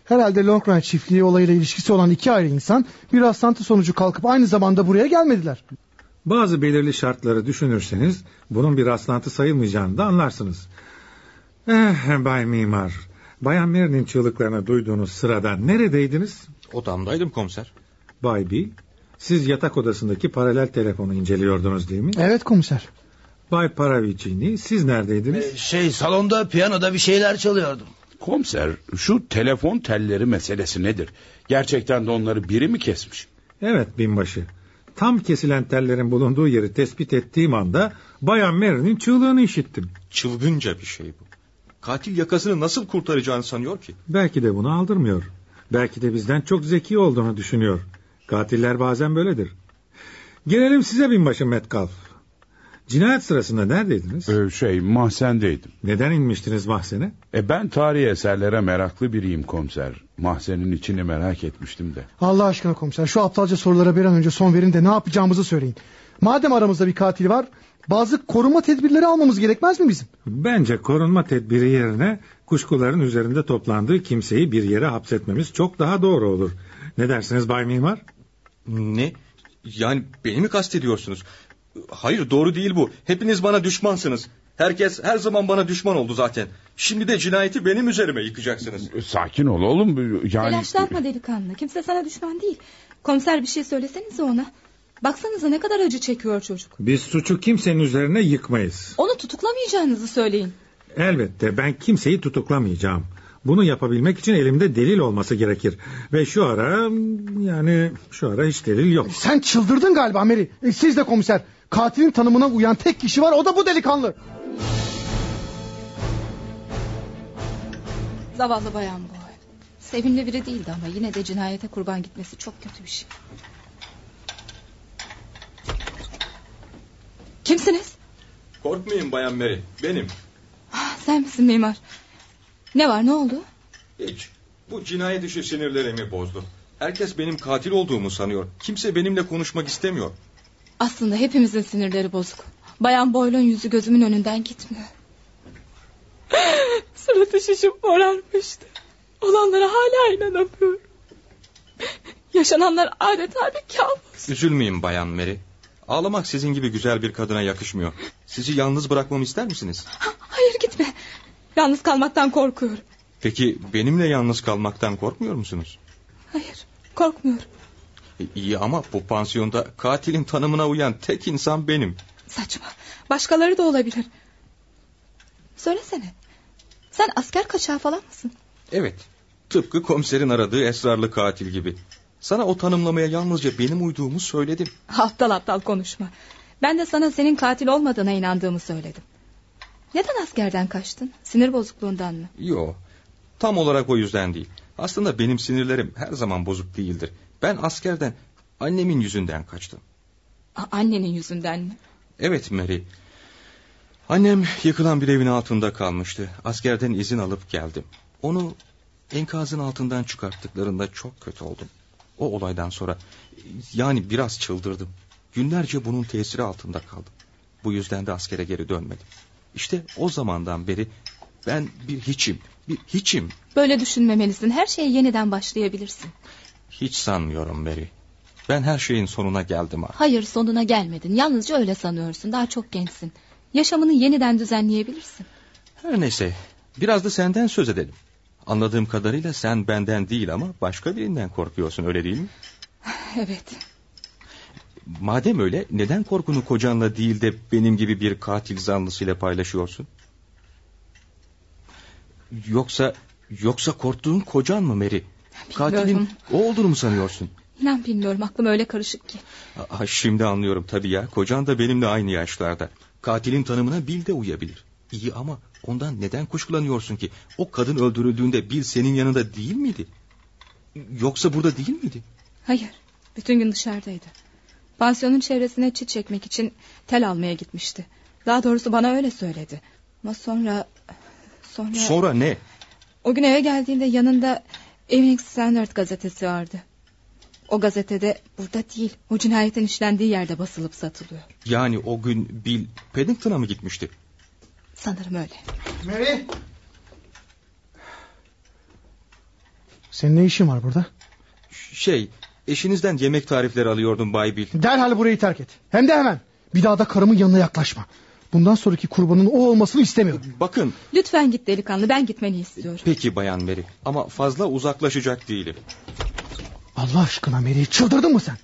Herhalde Longrange çiftliği olayıyla ilişkisi olan iki ayrı insan bir rastlantı sonucu kalkıp aynı zamanda buraya gelmediler. Bazı belirli şartları düşünürseniz bunun bir rastlantı sayılmayacağını da anlarsınız. Eh Bay Mimar, Bayan Mary'nin çığlıklarını duyduğunuz sırada neredeydiniz? Odamdaydım komiser. Bay Bill, Siz yatak odasındaki paralel telefonu inceliyordunuz değil mi? Evet komiser. Bay Paravicini siz neredeydiniz? Şey salonda piyanoda bir şeyler çalıyordum. Komiser şu telefon telleri meselesi nedir? Gerçekten de onları biri mi kesmiş? Evet binbaşı. Tam kesilen tellerin bulunduğu yeri tespit ettiğim anda Bayan Mary'nin çığlığını işittim. Çılgınca bir şey bu. Katil yakasını nasıl kurtaracağını sanıyor ki? Belki de bunu aldırmıyor. Belki de bizden çok zeki olduğunu düşünüyor. Katiller bazen böyledir. Gelelim size binbaşı Metcalf. Cinayet sırasında neredeydiniz? Ee, şey mahzendeydim. Neden inmiştiniz mahzene? E ben tarihi eserlere meraklı biriyim komiser. Mahzenin içini merak etmiştim de. Allah aşkına komiser şu aptalca sorulara bir an önce son verin de ne yapacağımızı söyleyin. Madem aramızda bir katil var bazı koruma tedbirleri almamız gerekmez mi bizim? Bence korunma tedbiri yerine kuşkuların üzerinde toplandığı kimseyi bir yere hapsetmemiz çok daha doğru olur. Ne dersiniz Bay Mimar? Ne? Yani beni mi kastediyorsunuz? Hayır doğru değil bu. Hepiniz bana düşmansınız. Herkes her zaman bana düşman oldu zaten. Şimdi de cinayeti benim üzerime yıkacaksınız. Sakin ol oğlum. Yani Telaşlanma delikanlı. Kimse sana düşman değil. Komiser bir şey söylesenize ona. Baksanıza ne kadar acı çekiyor çocuk. Biz suçu kimsenin üzerine yıkmayız. Onu tutuklamayacağınızı söyleyin. Elbette ben kimseyi tutuklamayacağım. Bunu yapabilmek için elimde delil olması gerekir. Ve şu ara yani şu ara hiç delil yok. Sen çıldırdın galiba Mary. E, siz de komiser. Katilin tanımına uyan tek kişi var o da bu delikanlı. Zavallı bayan bu. Sevimli biri değildi ama yine de cinayete kurban gitmesi çok kötü bir şey. Kimsiniz? Korkmayın Bayan Mary. Benim. Ah, Sen misin mimar? Ne var ne oldu? Hiç. Bu cinayet işi sinirlerimi bozdu. Herkes benim katil olduğumu sanıyor. Kimse benimle konuşmak istemiyor. Aslında hepimizin sinirleri bozuk. Bayan Boyle'un yüzü gözümün önünden gitmiyor. Suratı şişip morarmıştı. Olanlara hala inanamıyorum. Yaşananlar adeta bir kabus. Üzülmeyin Bayan Mary. Ağlamak sizin gibi güzel bir kadına yakışmıyor. Sizi yalnız bırakmamı ister misiniz? Hayır gitme. Yalnız kalmaktan korkuyorum. Peki benimle yalnız kalmaktan korkmuyor musunuz? Hayır korkmuyorum. E, İyi ama bu pansiyonda katilin tanımına uyan tek insan benim. Saçma. Başkaları da olabilir. Söylesene. Sen asker kaçağı falan mısın? Evet. Tıpkı komiserin aradığı esrarlı katil gibi. Sana o tanımlamaya yalnızca benim uyduğumu söyledim. Aptal aptal konuşma. Ben de sana senin katil olmadığına inandığımı söyledim. Neden askerden kaçtın? Sinir bozukluğundan mı? Yo. Tam olarak o yüzden değil. Aslında benim sinirlerim her zaman bozuk değildir. Ben askerden annemin yüzünden kaçtım. A- annenin yüzünden mi? Evet Mary. Annem yıkılan bir evin altında kalmıştı. Askerden izin alıp geldim. Onu enkazın altından çıkarttıklarında çok kötü oldum. O olaydan sonra yani biraz çıldırdım. Günlerce bunun tesiri altında kaldım. Bu yüzden de askere geri dönmedim. İşte o zamandan beri ben bir hiçim, bir hiçim. Böyle düşünmemelisin. Her şeye yeniden başlayabilirsin. Hiç sanmıyorum Mary. Ben her şeyin sonuna geldim artık. Hayır sonuna gelmedin. Yalnızca öyle sanıyorsun. Daha çok gençsin. Yaşamını yeniden düzenleyebilirsin. Her neyse biraz da senden söz edelim. Anladığım kadarıyla sen benden değil ama başka birinden korkuyorsun öyle değil mi? Evet. Madem öyle neden korkunu kocanla değil de benim gibi bir katil zanlısıyla paylaşıyorsun? Yoksa yoksa korktuğun kocan mı Mary? Katilin o olduğunu mu sanıyorsun? İnan bilmiyorum aklım öyle karışık ki. Aa, şimdi anlıyorum tabii ya. Kocan da benimle aynı yaşlarda. Katilin tanımına Bill de uyabilir. İyi ama ondan neden kuşkulanıyorsun ki? O kadın öldürüldüğünde Bill senin yanında değil miydi? Yoksa burada değil miydi? Hayır. Bütün gün dışarıdaydı. Pansiyonun çevresine çit çekmek için tel almaya gitmişti. Daha doğrusu bana öyle söyledi. Ama sonra... Sonra... Sonra ne? O gün eve geldiğimde yanında Evening Standard gazetesi vardı. O gazetede burada değil, o cinayetin işlendiği yerde basılıp satılıyor. Yani o gün Bill Paddington'a mı gitmişti? Sanırım öyle. Mary. Senin ne işin var burada? Şey, eşinizden yemek tarifleri alıyordum Bay Bill. Derhal burayı terk et. Hem de hemen. Bir daha da karımın yanına yaklaşma. Bundan sonraki kurbanın o olmasını istemiyorum. Bakın, Lütfen git delikanlı, ben gitmeni istiyorum. peki Bayan Mary ama fazla uzaklaşacak değilim. Allah aşkına Mary çıldırdın mı sen?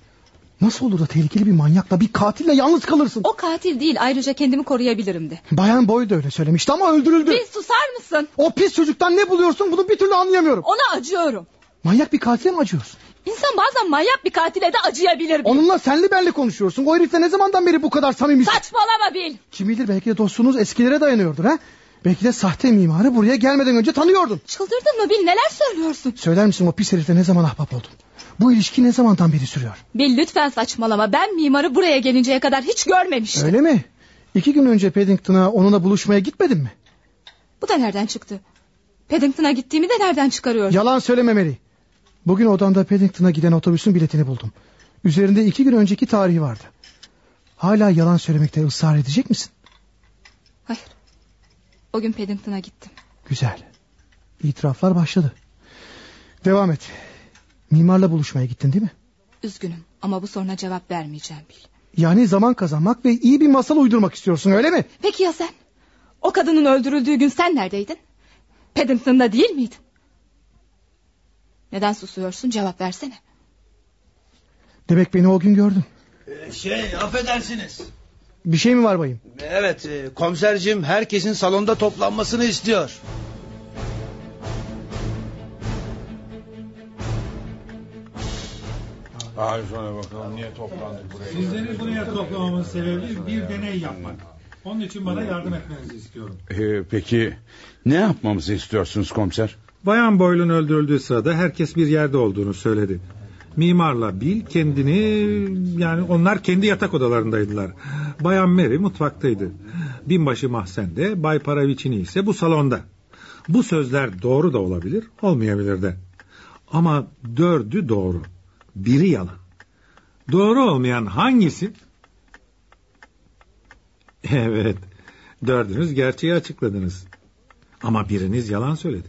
Nasıl olur da tehlikeli bir manyakla bir katille yalnız kalırsın? O katil değil ayrıca kendimi koruyabilirim de. Bayan Boy da öyle söylemişti ama öldürüldü. Bir susar mısın? O pis çocuktan ne buluyorsun bunu bir türlü anlayamıyorum. Ona acıyorum. Manyak bir katile mi acıyorsun? İnsan bazen manyak bir katile de acıyabilir. bir. Onunla senli benli konuşuyorsun. O herifle ne zamandan beri bu kadar samimisin? Saçmalama Bil. Kim bilir belki de dostluğunuz eskilere dayanıyordur ha? Belki de sahte mimarı buraya gelmeden önce tanıyordun. Çıldırdın mı Bil neler söylüyorsun? Söyler misin o pis herifle ne zaman ahbap oldun? Bu ilişki ne zamandan beri sürüyor? Bil lütfen saçmalama ben mimarı buraya gelinceye kadar hiç görmemiştim. Öyle mi? İki gün önce Paddington'a onunla buluşmaya gitmedin mi? Bu da nereden çıktı? Paddington'a gittiğimi de nereden çıkarıyorsun? Yalan söylememeli. Bugün odamda Paddington'a giden otobüsün biletini buldum. Üzerinde iki gün önceki tarihi vardı. Hala yalan söylemekte ısrar edecek misin? Hayır. O gün Paddington'a gittim. Güzel. İtiraflar başladı. Devam et. Mimarla buluşmaya gittin değil mi? Üzgünüm ama bu soruna cevap vermeyeceğim Bil. Yani zaman kazanmak ve iyi bir masal uydurmak istiyorsun öyle mi? Peki ya sen? O kadının öldürüldüğü gün sen neredeydin? Paddington'da değil miydin? Neden susuyorsun cevap versene. Demek beni o gün gördün. Şey affedersiniz. Bir şey mi var bayım? Evet e, komisercim herkesin salonda toplanmasını istiyor. Ay sonra bakalım niye toplandık buraya. Sizleri buraya toplamamın sebebi bir deney yapmak. Onun için bana yardım etmenizi istiyorum. Ee, peki ne yapmamızı istiyorsunuz komiser? Bayan Boyle'un öldürüldüğü sırada herkes bir yerde olduğunu söyledi. Mimarla Bill kendini yani onlar kendi yatak odalarındaydılar. Bayan Mary mutfaktaydı. Binbaşı Mahsen'de, Bay Paravicini ise bu salonda. Bu sözler doğru da olabilir, olmayabilir de. Ama dördü doğru. Biri yalan. Doğru olmayan hangisi? Evet. Dördünüz gerçeği açıkladınız. Ama biriniz yalan söyledi.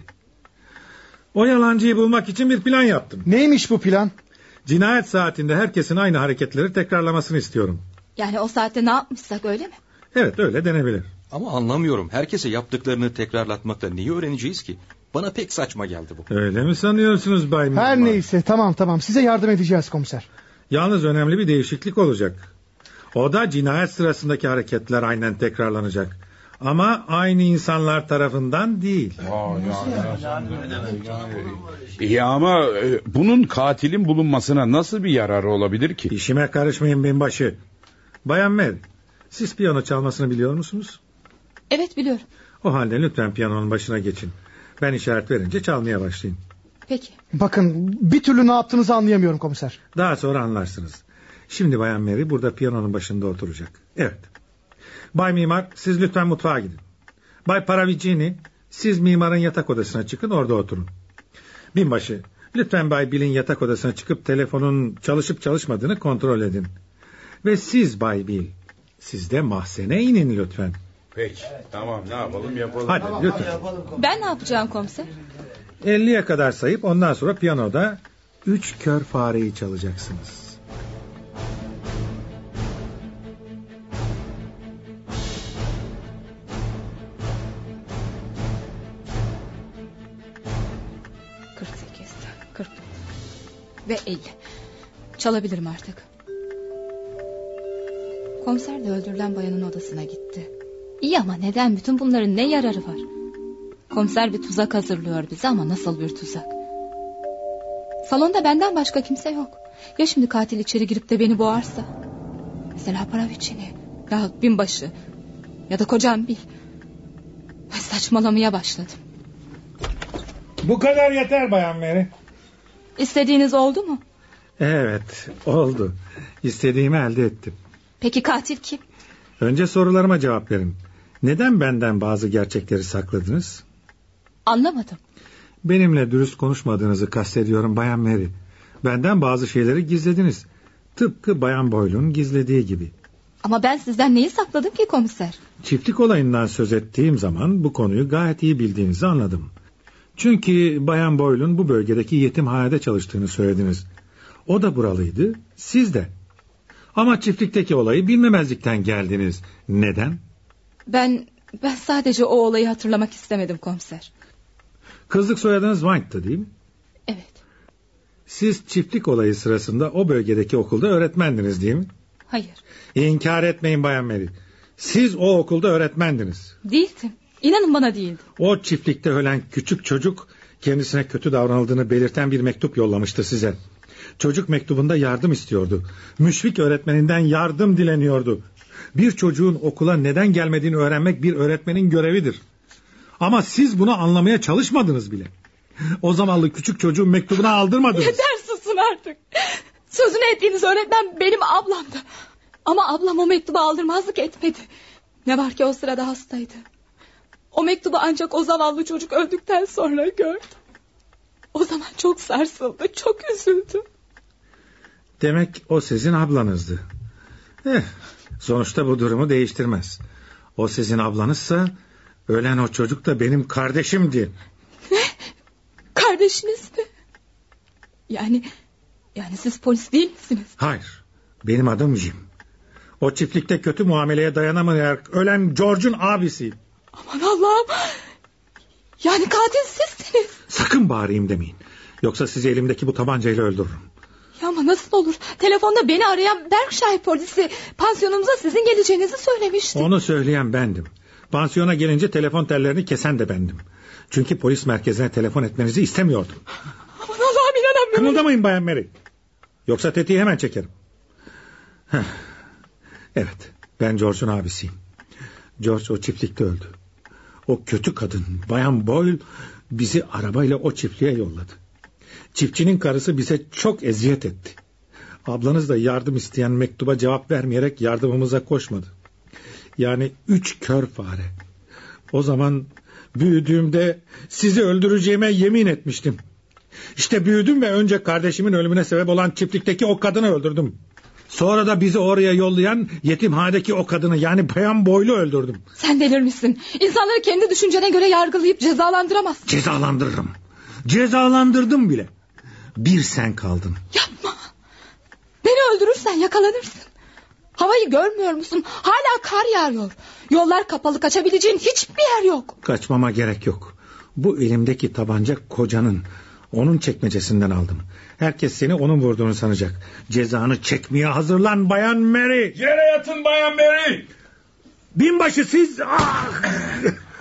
O yalancıyı bulmak için bir plan yaptım. Neymiş bu plan? Cinayet saatinde herkesin aynı hareketleri tekrarlamasını istiyorum. Yani o saatte ne yapmışsak öyle mi? Evet öyle denebilir. Ama anlamıyorum. Herkese yaptıklarını tekrarlatmakla neyi öğreneceğiz ki? Bana pek saçma geldi bu. Öyle mi sanıyorsunuz Bay Mimar? Her neyse tamam tamam size yardım edeceğiz komiser. Yalnız önemli bir değişiklik olacak. O da cinayet sırasındaki hareketler aynen tekrarlanacak. Ama aynı insanlar tarafından değil. İyi ama e, bunun katilin bulunmasına nasıl bir yararı olabilir ki? İşime karışmayın binbaşı. Bayan Mary, siz piyano çalmasını biliyor musunuz? Evet biliyorum. O halde lütfen piyanonun başına geçin. Ben işaret verince çalmaya başlayın. Peki. Bakın bir türlü ne yaptığınızı anlayamıyorum komiser. Daha sonra anlarsınız. Şimdi Bayan Mary burada piyanonun başında oturacak. Evet. Bay Mimar siz lütfen mutfağa gidin. Bay Paravicini siz mimarın yatak odasına çıkın orada oturun. Binbaşı lütfen Bay Bill'in yatak odasına çıkıp telefonun çalışıp çalışmadığını kontrol edin. Ve siz Bay Bill siz de mahzene inin lütfen. Peki tamam ne yapalım yapalım. Hadi, Tamam, lütfen. hadi Ben ne yapacağım komiser? 50'ye kadar sayıp ondan sonra piyanoda üç kör fareyi çalacaksınız. ve 50. Çalabilirim artık. Komiser de öldürülen bayanın odasına gitti. İyi ama neden bütün bunların ne yararı var? Komiser bir tuzak hazırlıyor bize ama nasıl bir tuzak? Salonda benden başka kimse yok. Ya şimdi katil içeri girip de beni boğarsa? Mesela Paravicini, ya binbaşı ya da kocam Bil. Ay, saçmalamaya başladım. Bu kadar yeter Bayan Mary. İstediğiniz oldu mu? Evet oldu. İstediğimi elde ettim. Peki katil kim? Önce sorularıma cevap verin. Neden benden bazı gerçekleri sakladınız? Anlamadım. Benimle dürüst konuşmadığınızı kastediyorum Bayan Mary. Benden bazı şeyleri gizlediniz. Tıpkı Bayan Boyle'un gizlediği gibi. Ama ben sizden neyi sakladım ki komiser? Çiftlik olayından söz ettiğim zaman bu konuyu gayet iyi bildiğinizi anladım. Çünkü Bayan Boyle'un bu bölgedeki yetimhanede çalıştığını söylediniz. O da buralıydı, siz de. Ama çiftlikteki olayı bilmemezlikten geldiniz. Neden? Ben ben sadece o olayı hatırlamak istemedim komiser. Kızlık soyadınız White'tı değil mi? Evet. Siz çiftlik olayı sırasında o bölgedeki okulda öğretmendiniz değil mi? Hayır İnkar etmeyin Bayan Mary. Siz o okulda öğretmendiniz. değildim. İnanın bana değildim. O çiftlikte ölen küçük çocuk kendisine kötü davranıldığını belirten bir mektup yollamıştı size. Çocuk mektubunda yardım istiyordu. Müşfik öğretmeninden yardım dileniyordu. Bir çocuğun okula neden gelmediğini öğrenmek bir öğretmenin görevidir. Ama siz bunu anlamaya çalışmadınız bile. O zamanlı küçük çocuğun mektubunu aldırmadınız. Yeter susun artık. Sözünü ettiğiniz öğretmen benim ablamdı. Ama ablam o mektubu aldırmazlık etmedi. Ne var ki o sırada hastaydı. O mektubu ancak o zavallı çocuk öldükten sonra gördüm. O zaman çok sarsıldı, çok üzüldü. Demek o sizin ablanızdı. Eh, sonuçta bu durumu değiştirmez. O sizin ablanızsa ölen o çocuk da benim kardeşimdi. Kardeşiniz mi? Yani, yani siz polis değil misiniz? Hayır, benim adım Jim. O çiftlikte kötü muameleye dayanamayarak ölen George'un abisiyim. Aman Allah'ım. Yani katil sizsiniz. Sakın bağırayım demeyin. Yoksa sizi elimdeki bu tabancayla öldürürüm. Ya ama nasıl olur? Telefonda beni arayan Berkshire polisi pansiyonumuza sizin geleceğinizi söylemişti. Onu söyleyen bendim. Pansiyona gelince telefon tellerini kesen de bendim. Çünkü polis merkezine telefon etmenizi istemiyordum. Aman Allah'ım inanamıyorum. Kımıldamayın Bayan Mary. Yoksa tetiği hemen çekerim. Heh. Evet, ben George'un abisiyim. George o çiftlikte öldü. O kötü kadın, Bayan Boyle, bizi arabayla o çiftliğe yolladı. Çiftçinin karısı bize çok eziyet etti. Ablanız da yardım isteyen mektuba cevap vermeyerek yardımımıza koşmadı. Yani üç kör fare. O zaman büyüdüğümde sizi öldüreceğime yemin etmiştim. İşte büyüdüm ve önce kardeşimin ölümüne sebep olan çiftlikteki o kadını öldürdüm. Sonra da bizi oraya yollayan yetimhanedeki o kadını yani bayan boylu öldürdüm. Sen delirmişsin. İnsanları kendi düşüncene göre yargılayıp cezalandıramazsın. Cezalandırırım. Cezalandırdım bile. Bir sen kaldın. Beni öldürürsen yakalanırsın. Havayı görmüyor musun? Hala kar yağıyor. Yollar kapalı kaçabileceğin hiçbir yer yok. Kaçmama gerek yok. Bu elimdeki tabanca kocanın. Onun çekmecesinden aldım. Herkes seni onun vurduğunu sanacak. Cezanı çekmeye hazırlan bayan Mary. Yere yatın Bayan Mary. Binbaşı siz... Ah!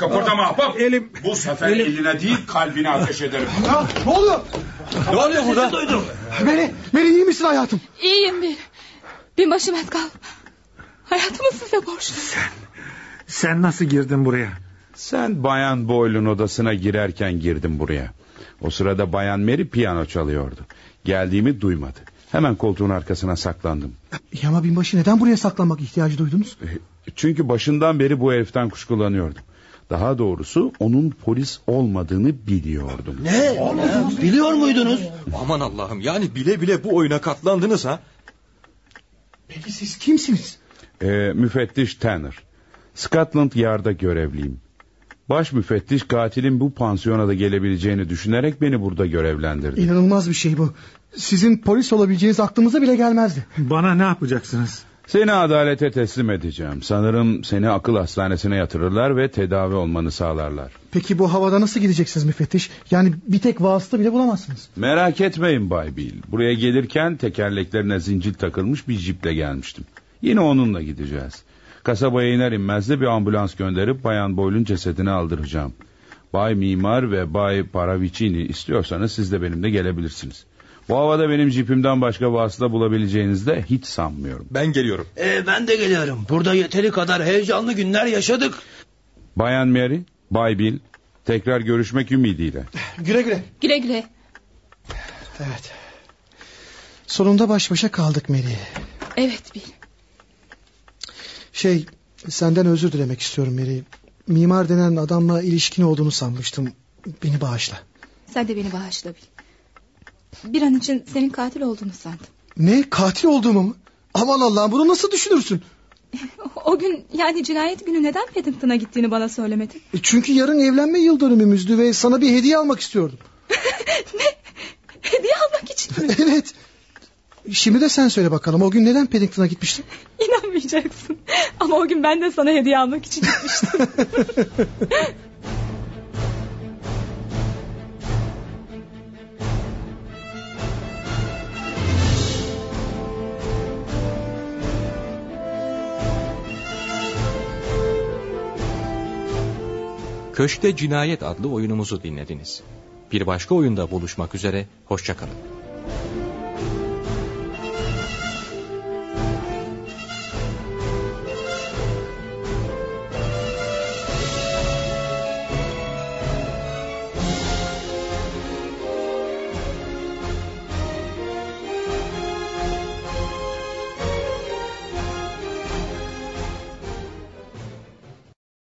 Kaportama ahbap. Elim. Bu sefer eline değil kalbine ateş ederim. Ya, ne oluyor? Ne oluyor burada? Mary, Mary iyi misin hayatım? İyiyim bir. Binbaşı Metcalf. Hayatımı size borçluyum. Sen nasıl girdin buraya? Sen Bayan Boyle'un odasına girerken girdim buraya. O sırada Bayan Mary piyano çalıyordu. Geldiğimi duymadı. Hemen koltuğun arkasına saklandım. Ya ama binbaşı neden buraya saklanmak ihtiyacı duydunuz? Çünkü başından beri bu heriften kuşkulanıyordum. Daha doğrusu onun polis olmadığını biliyordum. Ne? Biliyor muydunuz? Aman Allah'ım yani bile bile bu oyuna katlandınız ha. Peki siz kimsiniz? Ee, müfettiş Tanner. Scotland Yard'a görevliyim. Baş müfettiş katilin bu pansiyona da gelebileceğini düşünerek beni burada görevlendirdi. İnanılmaz bir şey bu. Sizin polis olabileceğiniz aklımıza bile gelmezdi. Bana ne yapacaksınız? Seni adalete teslim edeceğim. Sanırım seni akıl hastanesine yatırırlar ve tedavi olmanı sağlarlar. Peki bu havada nasıl gideceksiniz müfettiş? Yani bir tek vasıta bile bulamazsınız. Merak etmeyin Bay Bill. Buraya gelirken tekerleklerine zincir takılmış bir jiple gelmiştim. Yine onunla gideceğiz. Kasabaya iner inmez de bir ambulans gönderip Bayan Boyle'un cesedini aldıracağım. Bay Mimar ve Bay Paravicini istiyorsanız siz de benimle gelebilirsiniz. Bu havada benim jipimden başka vasıta bulabileceğinizi de hiç sanmıyorum. Ben geliyorum. Ee, ben de geliyorum. Burada yeteri kadar heyecanlı günler yaşadık. Bayan Mary, Bay Bill, tekrar görüşmek ümidiyle. Güle güle. Güle güle. Evet. Sonunda baş başa kaldık Mary. Evet Bill. Şey, senden özür dilemek istiyorum Mary. Mimar denen adamla ilişkin olduğunu sanmıştım. Beni bağışla. Sen de beni bağışla Bill. Bir an için senin katil olduğunu sandım. Ne? Katil olduğumu mu? Aman Allah'ım bunu nasıl düşünürsün? O gün yani cinayet günü neden Paddington'a gittiğini bana söylemedin? E, Çünkü yarın evlenme yıl dönümümüzdü ve sana bir hediye almak istiyordum. Hediye almak için mi? evet. Şimdi de sen söyle bakalım o gün neden Paddington'a gitmiştin? İnanmayacaksın. Ama o gün ben de sana hediye almak için gitmiştim. Köşkte Cinayet adlı oyunumuzu dinlediniz. Bir başka oyunda buluşmak üzere, hoşçakalın.